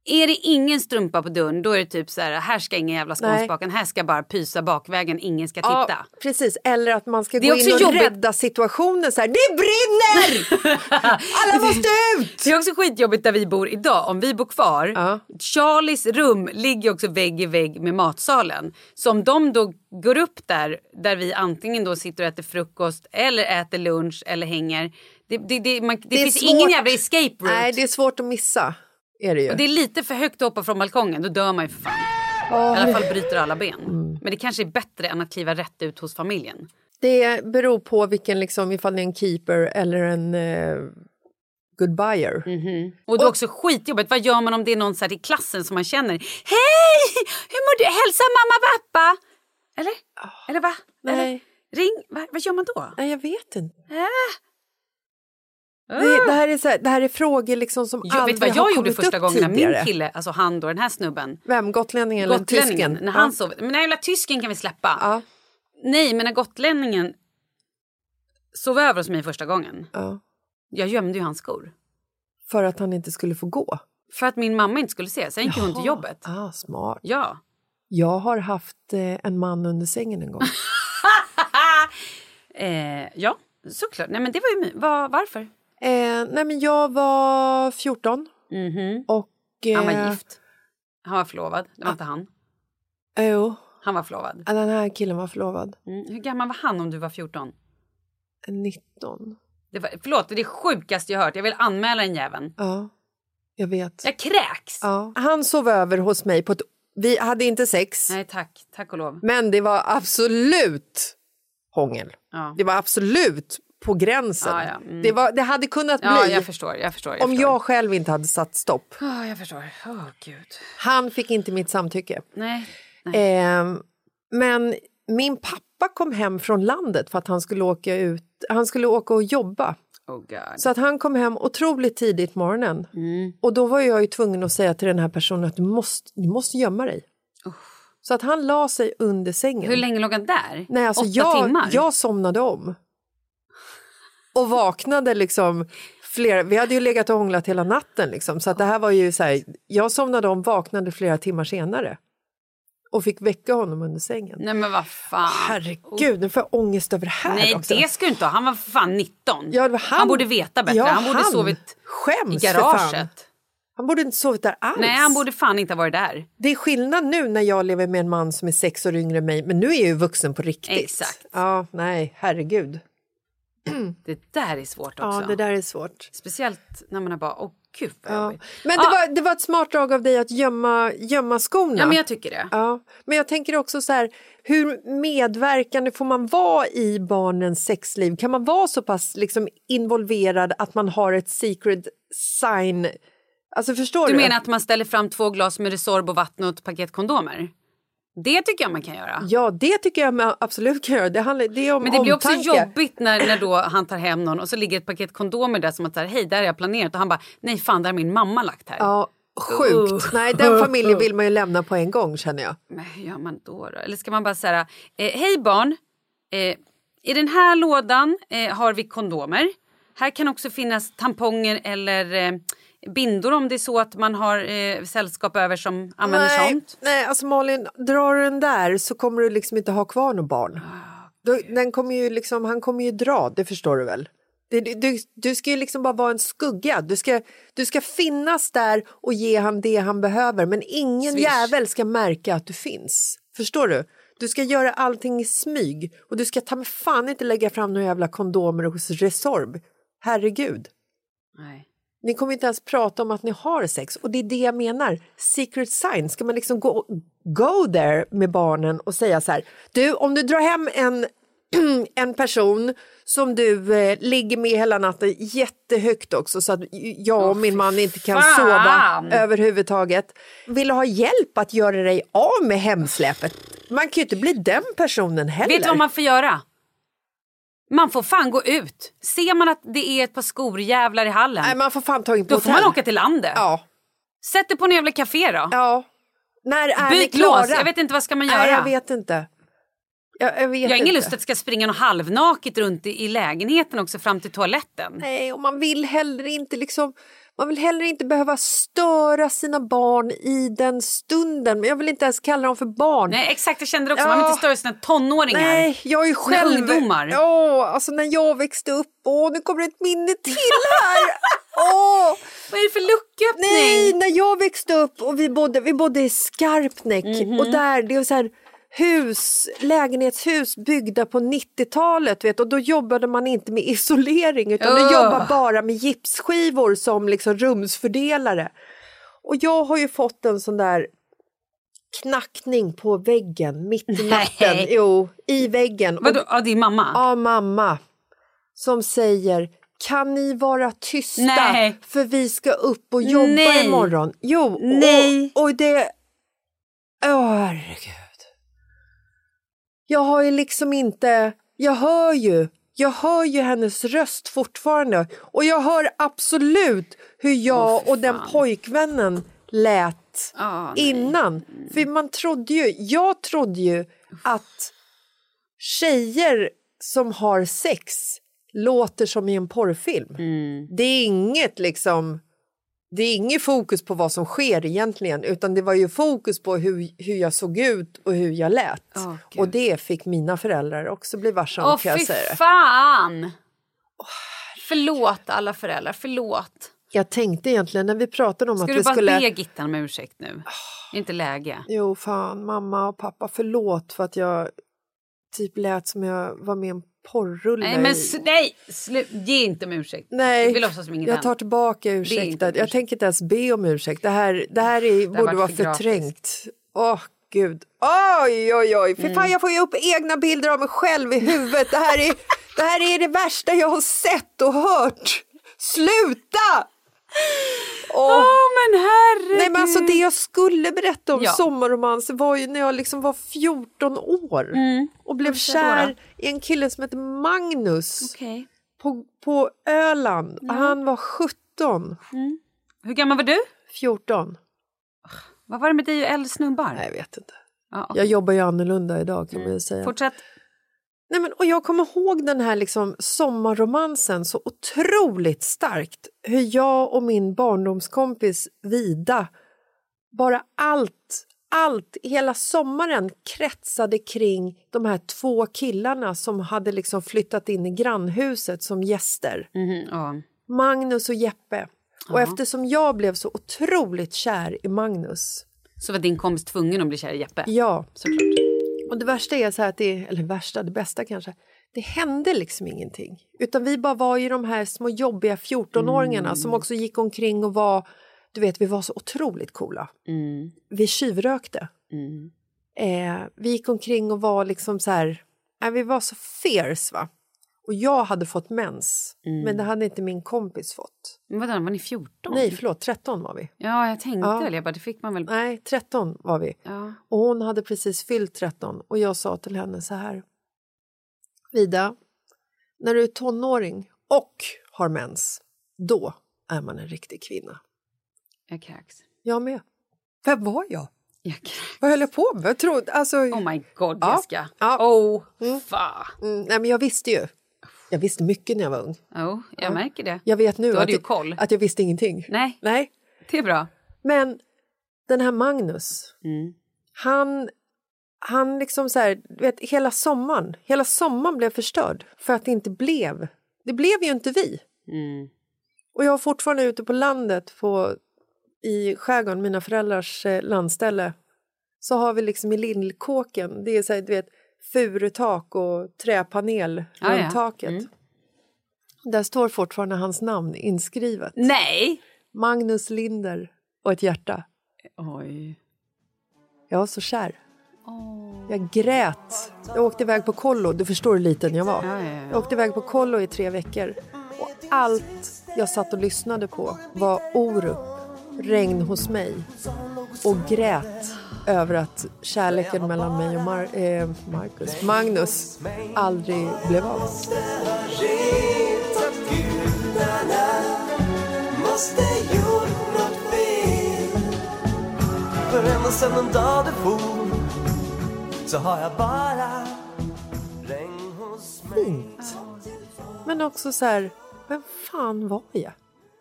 [SPEAKER 1] Är det ingen strumpa på dörren, då är det typ så här, här ska ingen jävla scones
[SPEAKER 2] Nej.
[SPEAKER 1] baka, här ska bara pysa bakvägen, ingen ska titta.
[SPEAKER 2] ja, precis. Eller att man ska
[SPEAKER 1] Det är
[SPEAKER 2] gå
[SPEAKER 1] också
[SPEAKER 2] in och
[SPEAKER 1] jobbigt.
[SPEAKER 2] rädda situationen. Så här, det brinner!
[SPEAKER 1] (laughs)
[SPEAKER 2] Alla måste ut!
[SPEAKER 1] Det är också skitjobbigt där vi bor idag. Om vi bor kvar, Charlies rum ligger också vägg i vägg med matsalen. Så om de då går upp där, där vi antingen då sitter och äter frukost eller äter lunch eller hänger. Det, det, det, man, det,
[SPEAKER 2] är
[SPEAKER 1] finns
[SPEAKER 2] svårt.
[SPEAKER 1] ingen jävla escape route.
[SPEAKER 2] Nej, det är svårt att missa. Är det ju.
[SPEAKER 1] Och det är lite för högt att hoppa från balkongen, då dör man ju för fan. I alla fall bryter alla ben.
[SPEAKER 2] Mm.
[SPEAKER 1] Men det kanske är bättre än att kliva rätt ut hos familjen.
[SPEAKER 2] Det beror på vilken, liksom, ifall det är en keeper eller en eh, goodbyer.
[SPEAKER 1] Mm. Och det är också skitjobbigt. Vad gör man om det är någon så här i klassen som man känner? Hej! Hur mår du? Hälsa mamma och pappa! Eller? Eller va? Eller?
[SPEAKER 2] Ah, Nej.
[SPEAKER 1] Ring? Va? Vad gör man då?
[SPEAKER 2] Nej, jag vet inte.
[SPEAKER 1] Äh.
[SPEAKER 2] Det, det, här är så här, det här är frågor liksom som
[SPEAKER 1] Ah! Jag vet
[SPEAKER 2] aldrig
[SPEAKER 1] du vad
[SPEAKER 2] har
[SPEAKER 1] jag gjorde
[SPEAKER 2] kommit
[SPEAKER 1] första
[SPEAKER 2] upp
[SPEAKER 1] gången när
[SPEAKER 2] tidigare.
[SPEAKER 1] min kille, alltså han då, den här snubben,
[SPEAKER 2] Vem? Gotlänningen eller
[SPEAKER 1] gotlänningen,
[SPEAKER 2] tysken?
[SPEAKER 1] när han
[SPEAKER 2] Ja.
[SPEAKER 1] sov. Men den här jävla tysken kan vi släppa.
[SPEAKER 2] Ja.
[SPEAKER 1] Nej, men när gotlänningen sov över hos mig första gången,
[SPEAKER 2] Ja.
[SPEAKER 1] jag gömde ju hans skor.
[SPEAKER 2] För att han inte skulle få gå.
[SPEAKER 1] För att min mamma inte skulle se, sen gick hon till
[SPEAKER 2] Jaha.
[SPEAKER 1] jobbet.
[SPEAKER 2] Ah, smart. (laughs)
[SPEAKER 1] Ja.
[SPEAKER 2] Jag har haft eh, en man under
[SPEAKER 1] (laughs)
[SPEAKER 2] sängen en gång.
[SPEAKER 1] Eh, ja, såklart. Nej, men det var ju my- var, Varför?
[SPEAKER 2] eh, nej men jag var 14
[SPEAKER 1] Mhm.
[SPEAKER 2] och... Eh,
[SPEAKER 1] Han var gift. Han var förlovad.
[SPEAKER 2] Ah.
[SPEAKER 1] Det var inte han.
[SPEAKER 2] Jo,
[SPEAKER 1] Han var förlovad.
[SPEAKER 2] den här killen var förlovad.
[SPEAKER 1] Mm. Hur gammal var han om du var 14?
[SPEAKER 2] 19.
[SPEAKER 1] Det var, förlåt, det är det sjukaste jag hört. Jag vill anmäla den jäveln.
[SPEAKER 2] Ja, jag vet.
[SPEAKER 1] Jag kräks!
[SPEAKER 2] Ja. Han sov över hos mig på ett... Vi hade inte sex,
[SPEAKER 1] Nej tack, tack och lov.
[SPEAKER 2] men det var absolut hångel.
[SPEAKER 1] Ja.
[SPEAKER 2] Det var absolut på gränsen.
[SPEAKER 1] Ja, ja, mm.
[SPEAKER 2] Det, var, det hade kunnat
[SPEAKER 1] Ja,
[SPEAKER 2] bli
[SPEAKER 1] jag förstår. Jag förstår, jag
[SPEAKER 2] om
[SPEAKER 1] förstår.
[SPEAKER 2] jag själv inte hade satt stopp.
[SPEAKER 1] Ah, jag förstår. Åh, gud.
[SPEAKER 2] Han fick inte mitt samtycke.
[SPEAKER 1] Nej.
[SPEAKER 2] Ehm, men min pappa kom hem från landet för att han skulle åka ut. Han skulle åka och jobba.
[SPEAKER 1] Oh, God.
[SPEAKER 2] Så att han kom hem otroligt tidigt på morgonen.
[SPEAKER 1] Mm.
[SPEAKER 2] Och då var jag ju tvungen att säga till den här personen att du måste, du måste gömma dig. Så att han la sig under sängen.
[SPEAKER 1] Hur länge låg han där?
[SPEAKER 2] Nej, alltså
[SPEAKER 1] Åtta
[SPEAKER 2] jag,
[SPEAKER 1] timmar?
[SPEAKER 2] jag somnade om. Och vaknade liksom flera, vi hade ju legat och hånglat hela natten liksom, så att det här var ju så här, jag somnade om, vaknade flera timmar senare. och fick väcka honom under sängen.
[SPEAKER 1] Nej men vad fan.
[SPEAKER 2] Herregud, nu får jag ångest över det här
[SPEAKER 1] Nej
[SPEAKER 2] också.
[SPEAKER 1] det ska du inte ha. Han var för fan 19.
[SPEAKER 2] Ja, det var han.
[SPEAKER 1] Han borde veta bättre.
[SPEAKER 2] Ja,
[SPEAKER 1] han borde
[SPEAKER 2] han.
[SPEAKER 1] sovit
[SPEAKER 2] Skäms
[SPEAKER 1] i
[SPEAKER 2] för fan.
[SPEAKER 1] garaget.
[SPEAKER 2] Han borde inte sovit där alls.
[SPEAKER 1] Nej han borde fan inte ha varit där.
[SPEAKER 2] Det är skillnad nu när jag lever med en man som är sex år yngre än mig, men nu är jag ju vuxen på riktigt.
[SPEAKER 1] Exakt.
[SPEAKER 2] Ja, nej, herregud.
[SPEAKER 1] Det där är svårt också.
[SPEAKER 2] Ja, det där är svårt.
[SPEAKER 1] Speciellt när man har bara, åh gud vad
[SPEAKER 2] Ja.
[SPEAKER 1] jobbigt.
[SPEAKER 2] Men det,
[SPEAKER 1] Ah.
[SPEAKER 2] var, det var ett smart drag av dig att gömma, gömma skorna.
[SPEAKER 1] Ja men jag tycker det.
[SPEAKER 2] Ja, men jag tänker också så här, hur medverkande får man vara i barnens sexliv? Kan man vara så pass liksom, involverad att man har ett secret sign? Alltså förstår du?
[SPEAKER 1] Du menar att man ställer fram två glas med Resorb och vatten och ett paket kondomer? Det tycker jag man kan göra.
[SPEAKER 2] Ja, det tycker jag man absolut kan göra. Det, handlar, det är om
[SPEAKER 1] Men det blir också
[SPEAKER 2] omtanke.
[SPEAKER 1] jobbigt när, när då han tar hem någon och så ligger ett paket kondomer där som att så här, hej där har jag planerat och han bara nej fan där har min mamma lagt här.
[SPEAKER 2] Ja, sjukt.
[SPEAKER 1] Uh.
[SPEAKER 2] Nej,
[SPEAKER 1] (laughs)
[SPEAKER 2] den familjen vill man ju lämna på en gång känner jag.
[SPEAKER 1] Men hur gör man då? då? Eller ska man bara säga, eh, hej barn, eh, i den här lådan eh, har vi kondomer. Här kan också finnas tamponger eller eh, bindor om det är så att man har eh, sällskap över som använder
[SPEAKER 2] nej,
[SPEAKER 1] sånt.
[SPEAKER 2] Nej, alltså Malin, drar du den där så kommer du liksom inte ha kvar något barn.
[SPEAKER 1] Ah,
[SPEAKER 2] Då, den kommer ju liksom, han kommer ju dra, det förstår du väl? Det, du- du, du ska ju liksom bara vara en skugga. Du ska, du ska finnas där och ge han det han behöver men ingen
[SPEAKER 1] Swish.
[SPEAKER 2] jävel ska märka att du finns. Förstår du? Du ska göra allting i smyg och du ska ta mig fan inte lägga fram några jävla kondomer hos Resorb. Herregud.
[SPEAKER 1] Nej.
[SPEAKER 2] Ni kommer inte ens prata om att ni har sex. Och det är det jag menar. Secret sign. Ska man liksom gå go there med barnen och säga så här. Du, om du drar hem en, (clears throat) en person som du eh, ligger med hela natten jättehögt också så att jag och min man inte kan
[SPEAKER 1] fan.
[SPEAKER 2] sova överhuvudtaget. Vill du ha hjälp att göra dig av med hemsläpet? Man kan ju inte bli den personen heller.
[SPEAKER 1] Vet du vad man får göra? Man får fan gå ut. Ser man att det är ett par skorjävlar i hallen,
[SPEAKER 2] Nej, man får fan ta in på
[SPEAKER 1] då får man
[SPEAKER 2] hotell.
[SPEAKER 1] åka till landet.
[SPEAKER 2] Ja.
[SPEAKER 1] Sätt dig på en jävla café då.
[SPEAKER 2] Ja. När är ni
[SPEAKER 1] Byt
[SPEAKER 2] klara?
[SPEAKER 1] lås, jag vet inte vad ska man göra.
[SPEAKER 2] Nej, jag vet inte. Jag, jag, vet
[SPEAKER 1] Jag har ingen
[SPEAKER 2] inte.
[SPEAKER 1] lust att det ska springa någon halvnaket runt i, i lägenheten också fram till toaletten.
[SPEAKER 2] Nej, och man vill heller inte liksom... Man vill heller inte behöva störa sina barn i den stunden. Men jag vill inte ens kalla dem för barn.
[SPEAKER 1] Nej, exakt, jag kände det också.
[SPEAKER 2] Ja.
[SPEAKER 1] Man vill inte störa sina tonåringar.
[SPEAKER 2] Nej, jag är ju
[SPEAKER 1] Sina
[SPEAKER 2] själv...
[SPEAKER 1] ungdomar.
[SPEAKER 2] Ja, alltså när jag växte upp. Åh, nu kommer ett minne till
[SPEAKER 1] (laughs)
[SPEAKER 2] här! Åh!
[SPEAKER 1] Vad är det för lucköppning?
[SPEAKER 2] Nej, när jag växte upp och vi bodde, vi bodde i Skarpnäck
[SPEAKER 1] Mhm.
[SPEAKER 2] och där, det var så här hus, lägenhetshus byggda på 90-talet vet, och då jobbade man inte med isolering utan
[SPEAKER 1] Ugh.
[SPEAKER 2] då jobbade bara med gipsskivor som liksom rumsfördelare. Och jag har ju fått en sån där knackning på väggen mitt i natten,
[SPEAKER 1] Nej.
[SPEAKER 2] jo, i väggen. Och-
[SPEAKER 1] Vadå, ja, det är mamma?
[SPEAKER 2] Ja, mamma. Som säger kan ni vara tysta
[SPEAKER 1] Nej.
[SPEAKER 2] för vi ska upp och jobba
[SPEAKER 1] Nej.
[SPEAKER 2] imorgon. Jo,
[SPEAKER 1] Nej.
[SPEAKER 2] Och, och det... Åh, herregud. Jag har ju liksom inte... Jag hör ju. Jag hör ju hennes röst fortfarande och jag hör absolut hur jag och den pojkvännen lät
[SPEAKER 1] Ah, nej.
[SPEAKER 2] innan. För man trodde ju, jag trodde ju att tjejer som har sex låter som i en porrfilm.
[SPEAKER 1] Mm.
[SPEAKER 2] Det är inget liksom... Det är inget fokus på vad som sker egentligen utan det var ju fokus på hur, hur jag såg ut och hur jag lät.
[SPEAKER 1] Åh, Gud.
[SPEAKER 2] och det fick mina föräldrar också bli varse om
[SPEAKER 1] Åh,
[SPEAKER 2] kan jag
[SPEAKER 1] fy
[SPEAKER 2] säga det.
[SPEAKER 1] fan! Förlåt alla föräldrar, förlåt.
[SPEAKER 2] Jag tänkte egentligen när vi pratade om
[SPEAKER 1] Ska
[SPEAKER 2] att
[SPEAKER 1] du
[SPEAKER 2] vi
[SPEAKER 1] bara
[SPEAKER 2] skulle...
[SPEAKER 1] be Gittan om ursäkt nu? Det är inte läge.
[SPEAKER 2] Jo, fan, mamma och pappa, förlåt för att jag typ lät som jag var med i en porrrulle.
[SPEAKER 1] Nej, men
[SPEAKER 2] i-
[SPEAKER 1] s- nej, slu- ge inte om ursäkt. Vi
[SPEAKER 2] Nej,
[SPEAKER 1] låtsas som inget
[SPEAKER 2] jag
[SPEAKER 1] hänt.
[SPEAKER 2] tar tillbaka
[SPEAKER 1] inte
[SPEAKER 2] ursäkten.
[SPEAKER 1] ursäkt.
[SPEAKER 2] Jag tänker inte ens be om ursäkt. Det här, det här är,
[SPEAKER 1] har
[SPEAKER 2] borde vara
[SPEAKER 1] varit för
[SPEAKER 2] förträngt. Åh, gud. Oj, oj, oj. För
[SPEAKER 1] Mm.
[SPEAKER 2] fan, jag får ju upp egna bilder av mig själv i huvudet. Det här
[SPEAKER 1] (laughs)
[SPEAKER 2] är det, här är det värsta jag har sett och hört. Sluta!
[SPEAKER 1] Åh,
[SPEAKER 2] Åh.
[SPEAKER 1] men herregud!
[SPEAKER 2] Nej, men alltså det jag skulle berätta om
[SPEAKER 1] Ja.
[SPEAKER 2] sommarromans var ju när jag liksom var 14 år
[SPEAKER 1] Mm.
[SPEAKER 2] och blev kär i en kille som hette Magnus
[SPEAKER 1] Okej.
[SPEAKER 2] på, på Öland. Han var 17,
[SPEAKER 1] Hur gammal var du?
[SPEAKER 2] 14.
[SPEAKER 1] Vad var det med dig och äldre snubbar?
[SPEAKER 2] Nej, jag vet inte.
[SPEAKER 1] Ja, okej.
[SPEAKER 2] Jag jobbar ju annorlunda idag kan man ju säga.
[SPEAKER 1] Fortsätt.
[SPEAKER 2] Nej, men, och jag kommer ihåg den här liksom sommarromansen så otroligt starkt. Hur jag och min barndomskompis Vida, bara allt, allt, hela sommaren kretsade kring de här två killarna som hade liksom flyttat in i grannhuset som gäster.
[SPEAKER 1] Mhm, ja.
[SPEAKER 2] Magnus och Jeppe. Och
[SPEAKER 1] Ja.
[SPEAKER 2] eftersom jag blev så otroligt kär i Magnus
[SPEAKER 1] Så var din kompis tvungen att bli kär i Jeppe?
[SPEAKER 2] Ja, såklart. Och det värsta är så här att det, eller värsta, det bästa kanske, det hände liksom ingenting. Utan vi bara var ju de här små jobbiga 14-åringarna
[SPEAKER 1] Mm.
[SPEAKER 2] som också gick omkring och var, du vet, vi var så otroligt coola.
[SPEAKER 1] Mm.
[SPEAKER 2] Vi tjuvrökte.
[SPEAKER 1] Mm.
[SPEAKER 2] Eh, vi gick omkring och var liksom så här, nej, vi var så fierce va. Och jag hade fått mens,
[SPEAKER 1] Mm.
[SPEAKER 2] men det hade inte min kompis fått.
[SPEAKER 1] Men vadå, var ni 14?
[SPEAKER 2] Nej, förlåt, 13 var vi.
[SPEAKER 1] Ja, jag tänkte
[SPEAKER 2] Ja.
[SPEAKER 1] väl. Jag bara, det fick man väl.
[SPEAKER 2] Nej, 13 var vi.
[SPEAKER 1] Ja.
[SPEAKER 2] Och hon hade precis fyllt 13 och jag sa till henne så här. Vida, när du är tonåring och har mens, då är man en riktig kvinna.
[SPEAKER 1] Jag kräks.
[SPEAKER 2] Jag med. Vem var jag?
[SPEAKER 1] Jag
[SPEAKER 2] Vad höll jag på med? Jag trodde, alltså...
[SPEAKER 1] Oh my god,
[SPEAKER 2] Ja,
[SPEAKER 1] Jessica.
[SPEAKER 2] ja.
[SPEAKER 1] Oh,
[SPEAKER 2] Mm.
[SPEAKER 1] fan.
[SPEAKER 2] Mm, nej, men jag visste ju. Jag visste mycket när jag var ung.
[SPEAKER 1] Oh, jag märker det.
[SPEAKER 2] Jag vet nu
[SPEAKER 1] Då har
[SPEAKER 2] att,
[SPEAKER 1] du ju koll.
[SPEAKER 2] att jag visste ingenting.
[SPEAKER 1] Nej,
[SPEAKER 2] Nej.
[SPEAKER 1] det är bra.
[SPEAKER 2] Men den här Magnus,
[SPEAKER 1] Mm.
[SPEAKER 2] han, han liksom så här, du vet, hela sommaren, hela sommaren blev förstörd för att det inte blev, det blev ju inte vi.
[SPEAKER 1] Mm.
[SPEAKER 2] Och jag var fortfarande ute på landet på, i skärgården, mina föräldrars eh, landställe, så har vi liksom i lillkåken, det är så här, du vet, furutak och träpanel
[SPEAKER 1] Ah,
[SPEAKER 2] runt
[SPEAKER 1] ja.
[SPEAKER 2] taket. Där står fortfarande hans namn inskrivet.
[SPEAKER 1] Nej!
[SPEAKER 2] Magnus Linder och ett hjärta.
[SPEAKER 1] Oj.
[SPEAKER 2] Jag var så kär. Jag grät. Jag åkte iväg på kollo. Du förstår hur liten jag var. Jag åkte iväg på kollo i tre veckor. Och allt jag satt och lyssnade på var Orup, Regn hos mig och grät över att kärleken mellan mig och Mar- eh, Marcus, Magnus aldrig blev av.
[SPEAKER 10] Måste gjort något fel För ända sedan den dag du for Så har jag bara regn hos mig
[SPEAKER 2] Fint. Men också så här, vem fan var jag?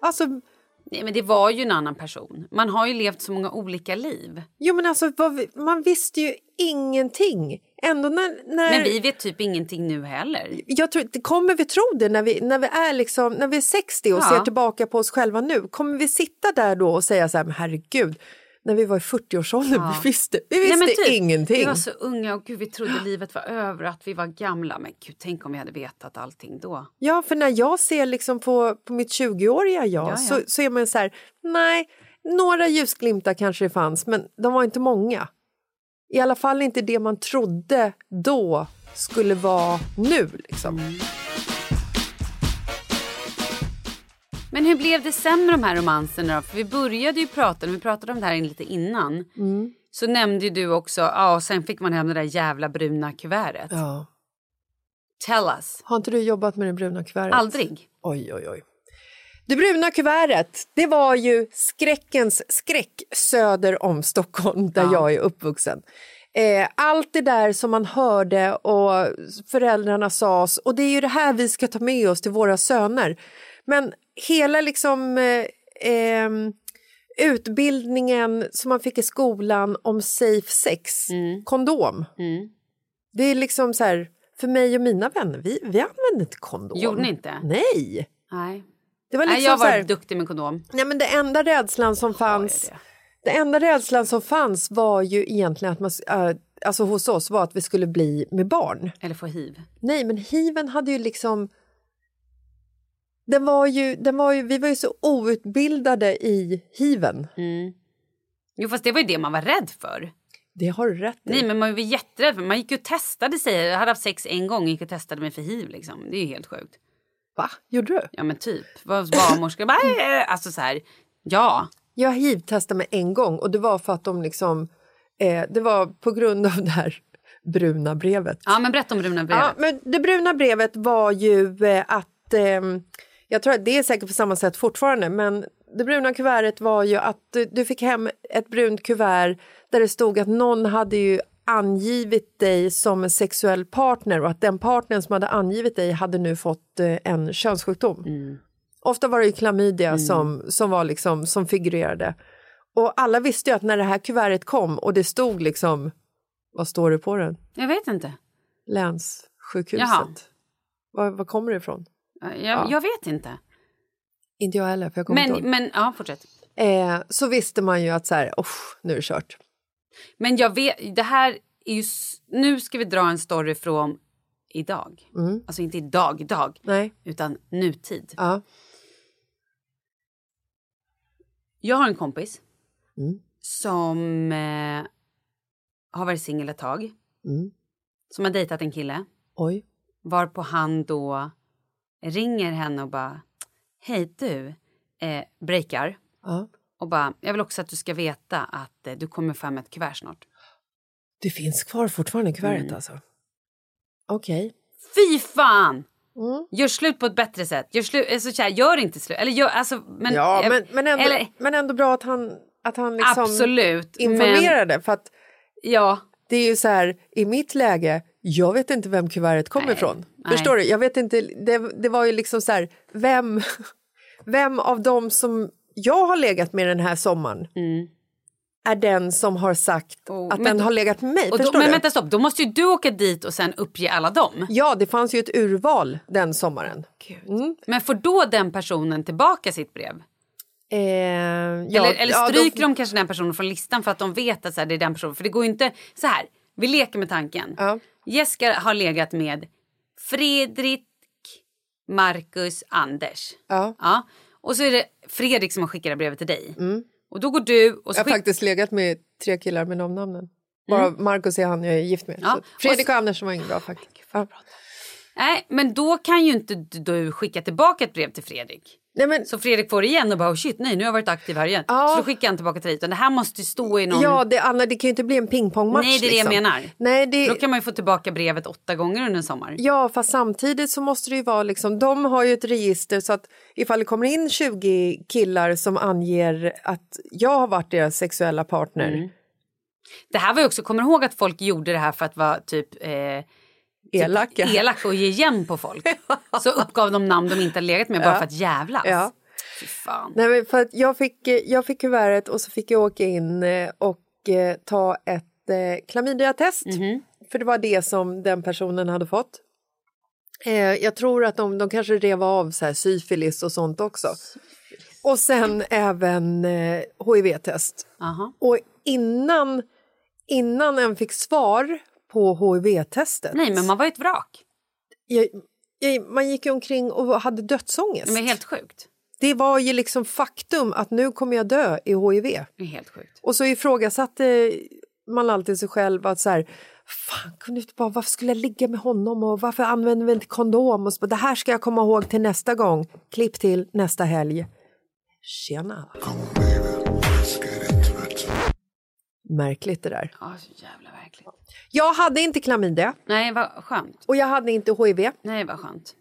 [SPEAKER 2] Alltså,
[SPEAKER 1] Nej, men det var ju en annan person. Man har ju levt så många olika liv.
[SPEAKER 2] Jo men alltså vad vi- man visste ju ingenting. Ändå när... när
[SPEAKER 1] Men vi vet typ ingenting nu heller.
[SPEAKER 2] Jag tror, det- kommer vi tro det när vi, när vi, är, liksom, när vi är 60 och
[SPEAKER 1] Ja.
[SPEAKER 2] ser tillbaka på oss själva nu? Kommer vi sitta där då och säga så här, men herregud, när vi var i 40-årsåldern,
[SPEAKER 1] Ja.
[SPEAKER 2] vi visste, vi visste
[SPEAKER 1] men typ,
[SPEAKER 2] ingenting.
[SPEAKER 1] Vi var så unga och gud, vi trodde livet var över och att vi var gamla. Men gud, tänk om vi hade vetat allting då.
[SPEAKER 2] Ja, för när jag ser liksom på, på mitt 20-åriga jag
[SPEAKER 1] ja.
[SPEAKER 2] Så, så är man så här, nej, några ljusglimtar kanske det fanns, men de var inte många. I alla fall inte det man trodde då skulle vara nu. Liksom.
[SPEAKER 1] Mm. Men hur blev det sen med de här romanserna då? För vi började ju prata, när vi pratade om det här lite innan,
[SPEAKER 2] Mm.
[SPEAKER 1] så nämnde ju du också, ja, och sen fick man hem det där jävla bruna kuvertet.
[SPEAKER 2] Ja.
[SPEAKER 1] Tell us.
[SPEAKER 2] Har inte du jobbat med det bruna kuvertet?
[SPEAKER 1] Aldrig.
[SPEAKER 2] Oj, oj, oj. Det bruna kuvertet, det var ju skräckens skräck söder om Stockholm där jag är uppvuxen. Eh, allt det där som man hörde och föräldrarna sa oss, och det är ju det här vi ska ta med oss till våra söner. Men hela liksom eh, ehm, utbildningen som man fick i skolan om safe sex,
[SPEAKER 1] Mm.
[SPEAKER 2] kondom. Det är liksom så här, för mig och mina vänner, vi, vi använde inte kondom.
[SPEAKER 1] Gjorde ni inte?
[SPEAKER 2] Nej.
[SPEAKER 1] Nej.
[SPEAKER 2] Det var liksom
[SPEAKER 1] Nej, jag
[SPEAKER 2] så
[SPEAKER 1] var
[SPEAKER 2] här,
[SPEAKER 1] duktig med kondom.
[SPEAKER 2] nej men det enda rädslan som fanns, det enda rädslan som fanns var ju egentligen att man, eh, alltså hos oss var att vi skulle bli med barn.
[SPEAKER 1] Eller få hiv.
[SPEAKER 2] Nej, men hiven hade ju liksom... Den var ju, den var ju, vi var ju så outbildade i hiven.
[SPEAKER 1] Jo, fast det var ju det man var rädd för.
[SPEAKER 2] Det har du rätt i.
[SPEAKER 1] Nej, men man var ju jätterädd. För. Man gick ju och testade sig. Jag hade haft sex en gång och gick och testade mig för hiv. Liksom. Det är ju helt sjukt.
[SPEAKER 2] Va? Gjorde du?
[SPEAKER 1] Ja, men typ. Var barnmorska bara... "Äh", Alltså så här. Ja.
[SPEAKER 2] Jag hiv-testade mig en gång och det var för att de liksom... Eh, det var på grund av det här bruna brevet.
[SPEAKER 1] Ja, men berätta om bruna brevet.
[SPEAKER 2] Ja, men det bruna brevet var ju eh, att... ehm, jag tror att det är säkert på samma sätt fortfarande, men det bruna kuvertet var ju att eh, du fick hem ett brunt kuvert där det stod att någon hade ju angivit dig som en sexuell partner och att den partnern som hade angivit dig hade nu fått eh, en
[SPEAKER 1] Mm.
[SPEAKER 2] könssjukdom. Ofta var det ju klamydia som, som, var liksom, som figurerade. Och alla visste ju att när det här kuvertet kom och det stod liksom, vad står det på den?
[SPEAKER 1] Jag vet inte. Jaha.
[SPEAKER 2] Länssjukhuset. Var, var kommer det ifrån?
[SPEAKER 1] Jag,
[SPEAKER 2] Ja.
[SPEAKER 1] jag vet inte.
[SPEAKER 2] Inte jag heller, för jag kommer inte
[SPEAKER 1] Men,
[SPEAKER 2] ihåg.
[SPEAKER 1] men ja, fortsätt.
[SPEAKER 2] Eh, så visste man ju att så här, "Usch, nu är det kört.
[SPEAKER 1] Men jag vet, det här är ju... s- Nu ska vi dra en story från idag.
[SPEAKER 2] Mm.
[SPEAKER 1] Alltså inte idag, idag. Utan nutid.
[SPEAKER 2] Ja.
[SPEAKER 1] Jag har en kompis
[SPEAKER 2] Mm.
[SPEAKER 1] som eh, har varit singel ett tag.
[SPEAKER 2] Mm.
[SPEAKER 1] Som har dejtat en kille.
[SPEAKER 2] Oj.
[SPEAKER 1] Varpå han då ringer henne och bara Hej du, eh, breakar.
[SPEAKER 2] Ja.
[SPEAKER 1] Och bara, jag vill också att du ska veta att eh, du kommer fram med ett kuvert snart.
[SPEAKER 2] Det finns kvar fortfarande i kuvertet alltså? Okej.
[SPEAKER 1] Fy fan!
[SPEAKER 2] Mm.
[SPEAKER 1] Gör slut på ett bättre sätt. Gör, slut, alltså, så här, gör inte slut. Eller gör, alltså, men,
[SPEAKER 2] ja,
[SPEAKER 1] eh,
[SPEAKER 2] men, men, ändå,
[SPEAKER 1] eller-
[SPEAKER 2] men ändå bra att han, att han liksom
[SPEAKER 1] Absolut,
[SPEAKER 2] informerade. För att
[SPEAKER 1] ja.
[SPEAKER 2] det är ju så här, i mitt läge, jag vet inte vem kuvertet kommer ifrån. Förstår du? Jag vet inte, det, det var ju liksom så här, vem, (laughs) vem av dem som jag har legat med den här sommaren är den som har sagt att
[SPEAKER 1] Mm. Oh, men-
[SPEAKER 2] den har legat med mig?
[SPEAKER 1] Och då,
[SPEAKER 2] Förstår
[SPEAKER 1] men
[SPEAKER 2] du?
[SPEAKER 1] vänta stopp, då måste ju du åka dit och sen uppge alla dem.
[SPEAKER 2] Ja, det fanns ju ett urval den sommaren. Mm.
[SPEAKER 1] Men får då den personen tillbaka sitt brev?
[SPEAKER 2] Eh, ja,
[SPEAKER 1] eller eller
[SPEAKER 2] ja, då-
[SPEAKER 1] stryker de kanske den personen från listan för att de vet att så här, det är den personen? För det går ju inte... Så här, vi leker med tanken. Jessica har legat med Fredrik, Marcus, Anders.
[SPEAKER 2] Ja.
[SPEAKER 1] Och så är det Fredrik som har skickat det här brevet till dig. Och då går du... Och så
[SPEAKER 2] Mm. Jag har
[SPEAKER 1] skick-
[SPEAKER 2] faktiskt legat med tre killar med de namnen. Bara Marcus är han jag är gift med.
[SPEAKER 1] Mm. Ja,
[SPEAKER 2] Så Fredrik
[SPEAKER 1] och så-
[SPEAKER 2] och Anders var inget bra faktiskt. Ja.
[SPEAKER 1] Nej, men då kan ju inte du- du skicka tillbaka ett brev till Fredrik. Så Fredrik får det igen och bara oh shit, nej nu har jag varit aktiv här igen. Så då skickar han tillbaka till dig. Utan det här måste ju stå i någon...
[SPEAKER 2] Ja, det, Anna, det kan ju inte bli en pingpongmatch.
[SPEAKER 1] nej, det är det
[SPEAKER 2] liksom.
[SPEAKER 1] jag menar.
[SPEAKER 2] Nej, det...
[SPEAKER 1] Då kan man ju få tillbaka brevet åtta gånger under en sommar.
[SPEAKER 2] Ja, fast samtidigt så måste det ju vara liksom, de har ju ett register så att ifall det kommer in 20 killar som anger att jag har varit deras sexuella partner.
[SPEAKER 1] Mm. Det här var ju också, kommer du ihåg att folk gjorde det här för att vara typ... Eh,
[SPEAKER 2] Elaka.
[SPEAKER 1] Typ elaka och ge igen på
[SPEAKER 2] (laughs)
[SPEAKER 1] folk. Så uppgav de namn de inte hade legat med bara
[SPEAKER 2] Ja.
[SPEAKER 1] för att jävlas.
[SPEAKER 2] Ja.
[SPEAKER 1] Fy fan.
[SPEAKER 2] Nej, men för att jag, fick, eh, jag fick kuvertet och så fick jag åka in eh, och eh, ta ett eh, klamydiatest.
[SPEAKER 1] Mhm.
[SPEAKER 2] För det var det som den personen hade fått. Eh, jag tror att de, de kanske rev av så här, syfilis och sånt också. Och sen även eh, hiv-test.
[SPEAKER 1] Aha.
[SPEAKER 2] Och innan, innan en fick svar på hiv-testet...
[SPEAKER 1] Nej, men man var ju ett vrak.
[SPEAKER 2] Jag, jag, man gick ju omkring och hade dödsångest.
[SPEAKER 1] Det var helt sjukt.
[SPEAKER 2] Det var ju liksom faktum att nu kommer jag dö i hiv.
[SPEAKER 1] Det är helt sjukt.
[SPEAKER 2] Och så ifrågasatte man alltid sig själv att så här, fan kunde inte bara, varför skulle jag ligga med honom och varför använder vi inte kondom? Och så, bara, det här ska jag komma ihåg till nästa gång. Klipp till nästa helg. Tjena! Märkligt det där.
[SPEAKER 1] Ja, så jävla verkligt.
[SPEAKER 2] Jag hade inte klamydia
[SPEAKER 1] Nej, vad skönt.
[SPEAKER 2] och jag hade inte hiv.
[SPEAKER 1] Nej, vad skönt.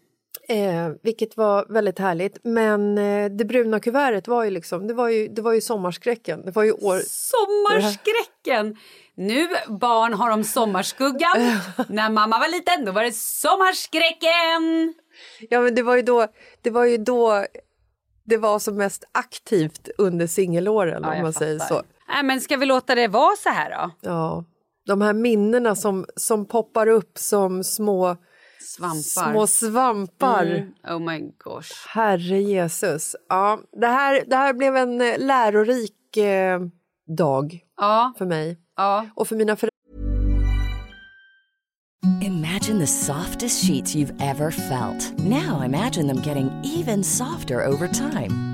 [SPEAKER 2] Eh, vilket var väldigt härligt. Men eh, det bruna kuvertet var ju liksom, det var ju, det var ju sommarskräcken. Det var ju år...
[SPEAKER 1] Sommarskräcken! Nu barn har de sommarskuggan. När mamma var liten då var det sommarskräcken!
[SPEAKER 2] Ja, men det var ju då det var, ju då det var som mest aktivt under singelåren om man säger så.
[SPEAKER 1] Nej, men ska vi låta det vara så här då?
[SPEAKER 2] Ja, de här minnena som, som poppar upp som små
[SPEAKER 1] Svampar.
[SPEAKER 2] små svampar.
[SPEAKER 1] Mm. Oh my gosh.
[SPEAKER 2] Herre Jesus. Ja, det, här, det här blev en eh, lärorik eh, dag
[SPEAKER 1] Ja.
[SPEAKER 2] för mig
[SPEAKER 1] ja.
[SPEAKER 2] och för mina föräldrar.
[SPEAKER 11] Imagine the softest sheets you've ever felt. Now imagine them getting even softer over time.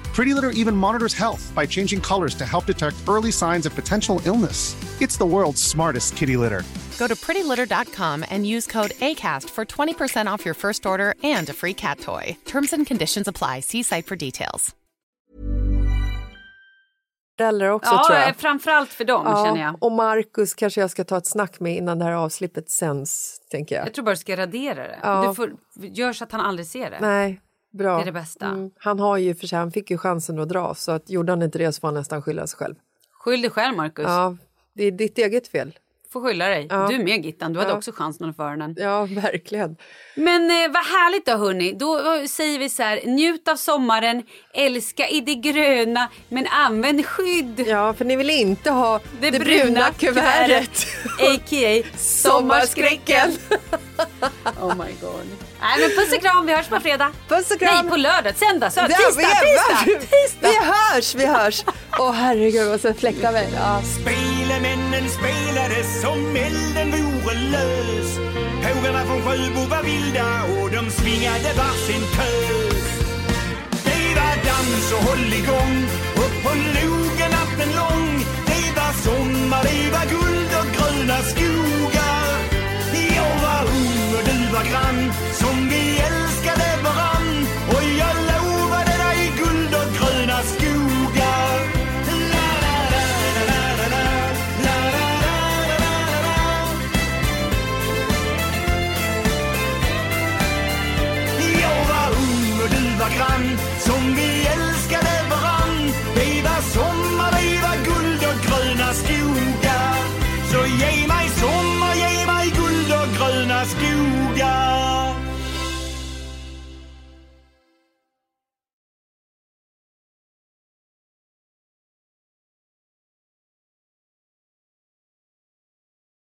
[SPEAKER 12] Pretty Litter even monitors health by changing colors to help detect early signs of potential illness. It's the world's smartest kitty litter.
[SPEAKER 13] Go to prettylitter.com and use code ACAST for 20% off your first order and a free cat toy. Terms and conditions apply. See site for details.
[SPEAKER 2] Föräldrar också
[SPEAKER 1] ja,
[SPEAKER 2] tror jag.
[SPEAKER 1] framförallt för dem
[SPEAKER 2] Ja,
[SPEAKER 1] känner jag.
[SPEAKER 2] Och Markus kanske jag ska ta ett snack med innan det här avslippet sänds, tänker jag.
[SPEAKER 1] Jag tror bara du ska radera det.
[SPEAKER 2] Ja.
[SPEAKER 1] Du får, gör så att han aldrig ser det.
[SPEAKER 2] Nej, bra.
[SPEAKER 1] Det är det bästa.
[SPEAKER 2] Mm. Han, har ju, för sig, han fick ju chansen att dra, så att gjorde han inte det så får han nästan skylla sig själv.
[SPEAKER 1] Skyll dig själv, Markus.
[SPEAKER 2] Ja, det är ditt eget fel.
[SPEAKER 1] får skylla dig.
[SPEAKER 2] Ja.
[SPEAKER 1] Du med, Gittan. Du hade
[SPEAKER 2] Ja.
[SPEAKER 1] också chansen att få öronen.
[SPEAKER 2] Ja, verkligen.
[SPEAKER 1] Men eh, vad härligt då, hörni. Då eh, säger vi så här, njut av sommaren, älska i det gröna, men använd skydd.
[SPEAKER 2] Ja, för ni vill inte ha det, bruna, kuvertet.
[SPEAKER 1] A.k.a.
[SPEAKER 2] (laughs)
[SPEAKER 1] sommarskräcken. oh my god. Nej, men puss och kram. Vi hörs på fredag.
[SPEAKER 2] Puss och kram.
[SPEAKER 1] Nej, på lördag. Söndag, söndag,
[SPEAKER 2] Där
[SPEAKER 1] tisdag,
[SPEAKER 2] vi är,
[SPEAKER 1] tisdag.
[SPEAKER 2] va? Vi hörs, vi hörs. Åh herregud, vad så fläktar vi. Ja.
[SPEAKER 11] Spelemännen spelade som elden vore lös Pågarna från Sjöbo var vilda och de svingade varsin tös Det var dans och hålligång upp på logen natten lång Det var sommar, det var guld och gröna skogar Jag var ung och du var grann så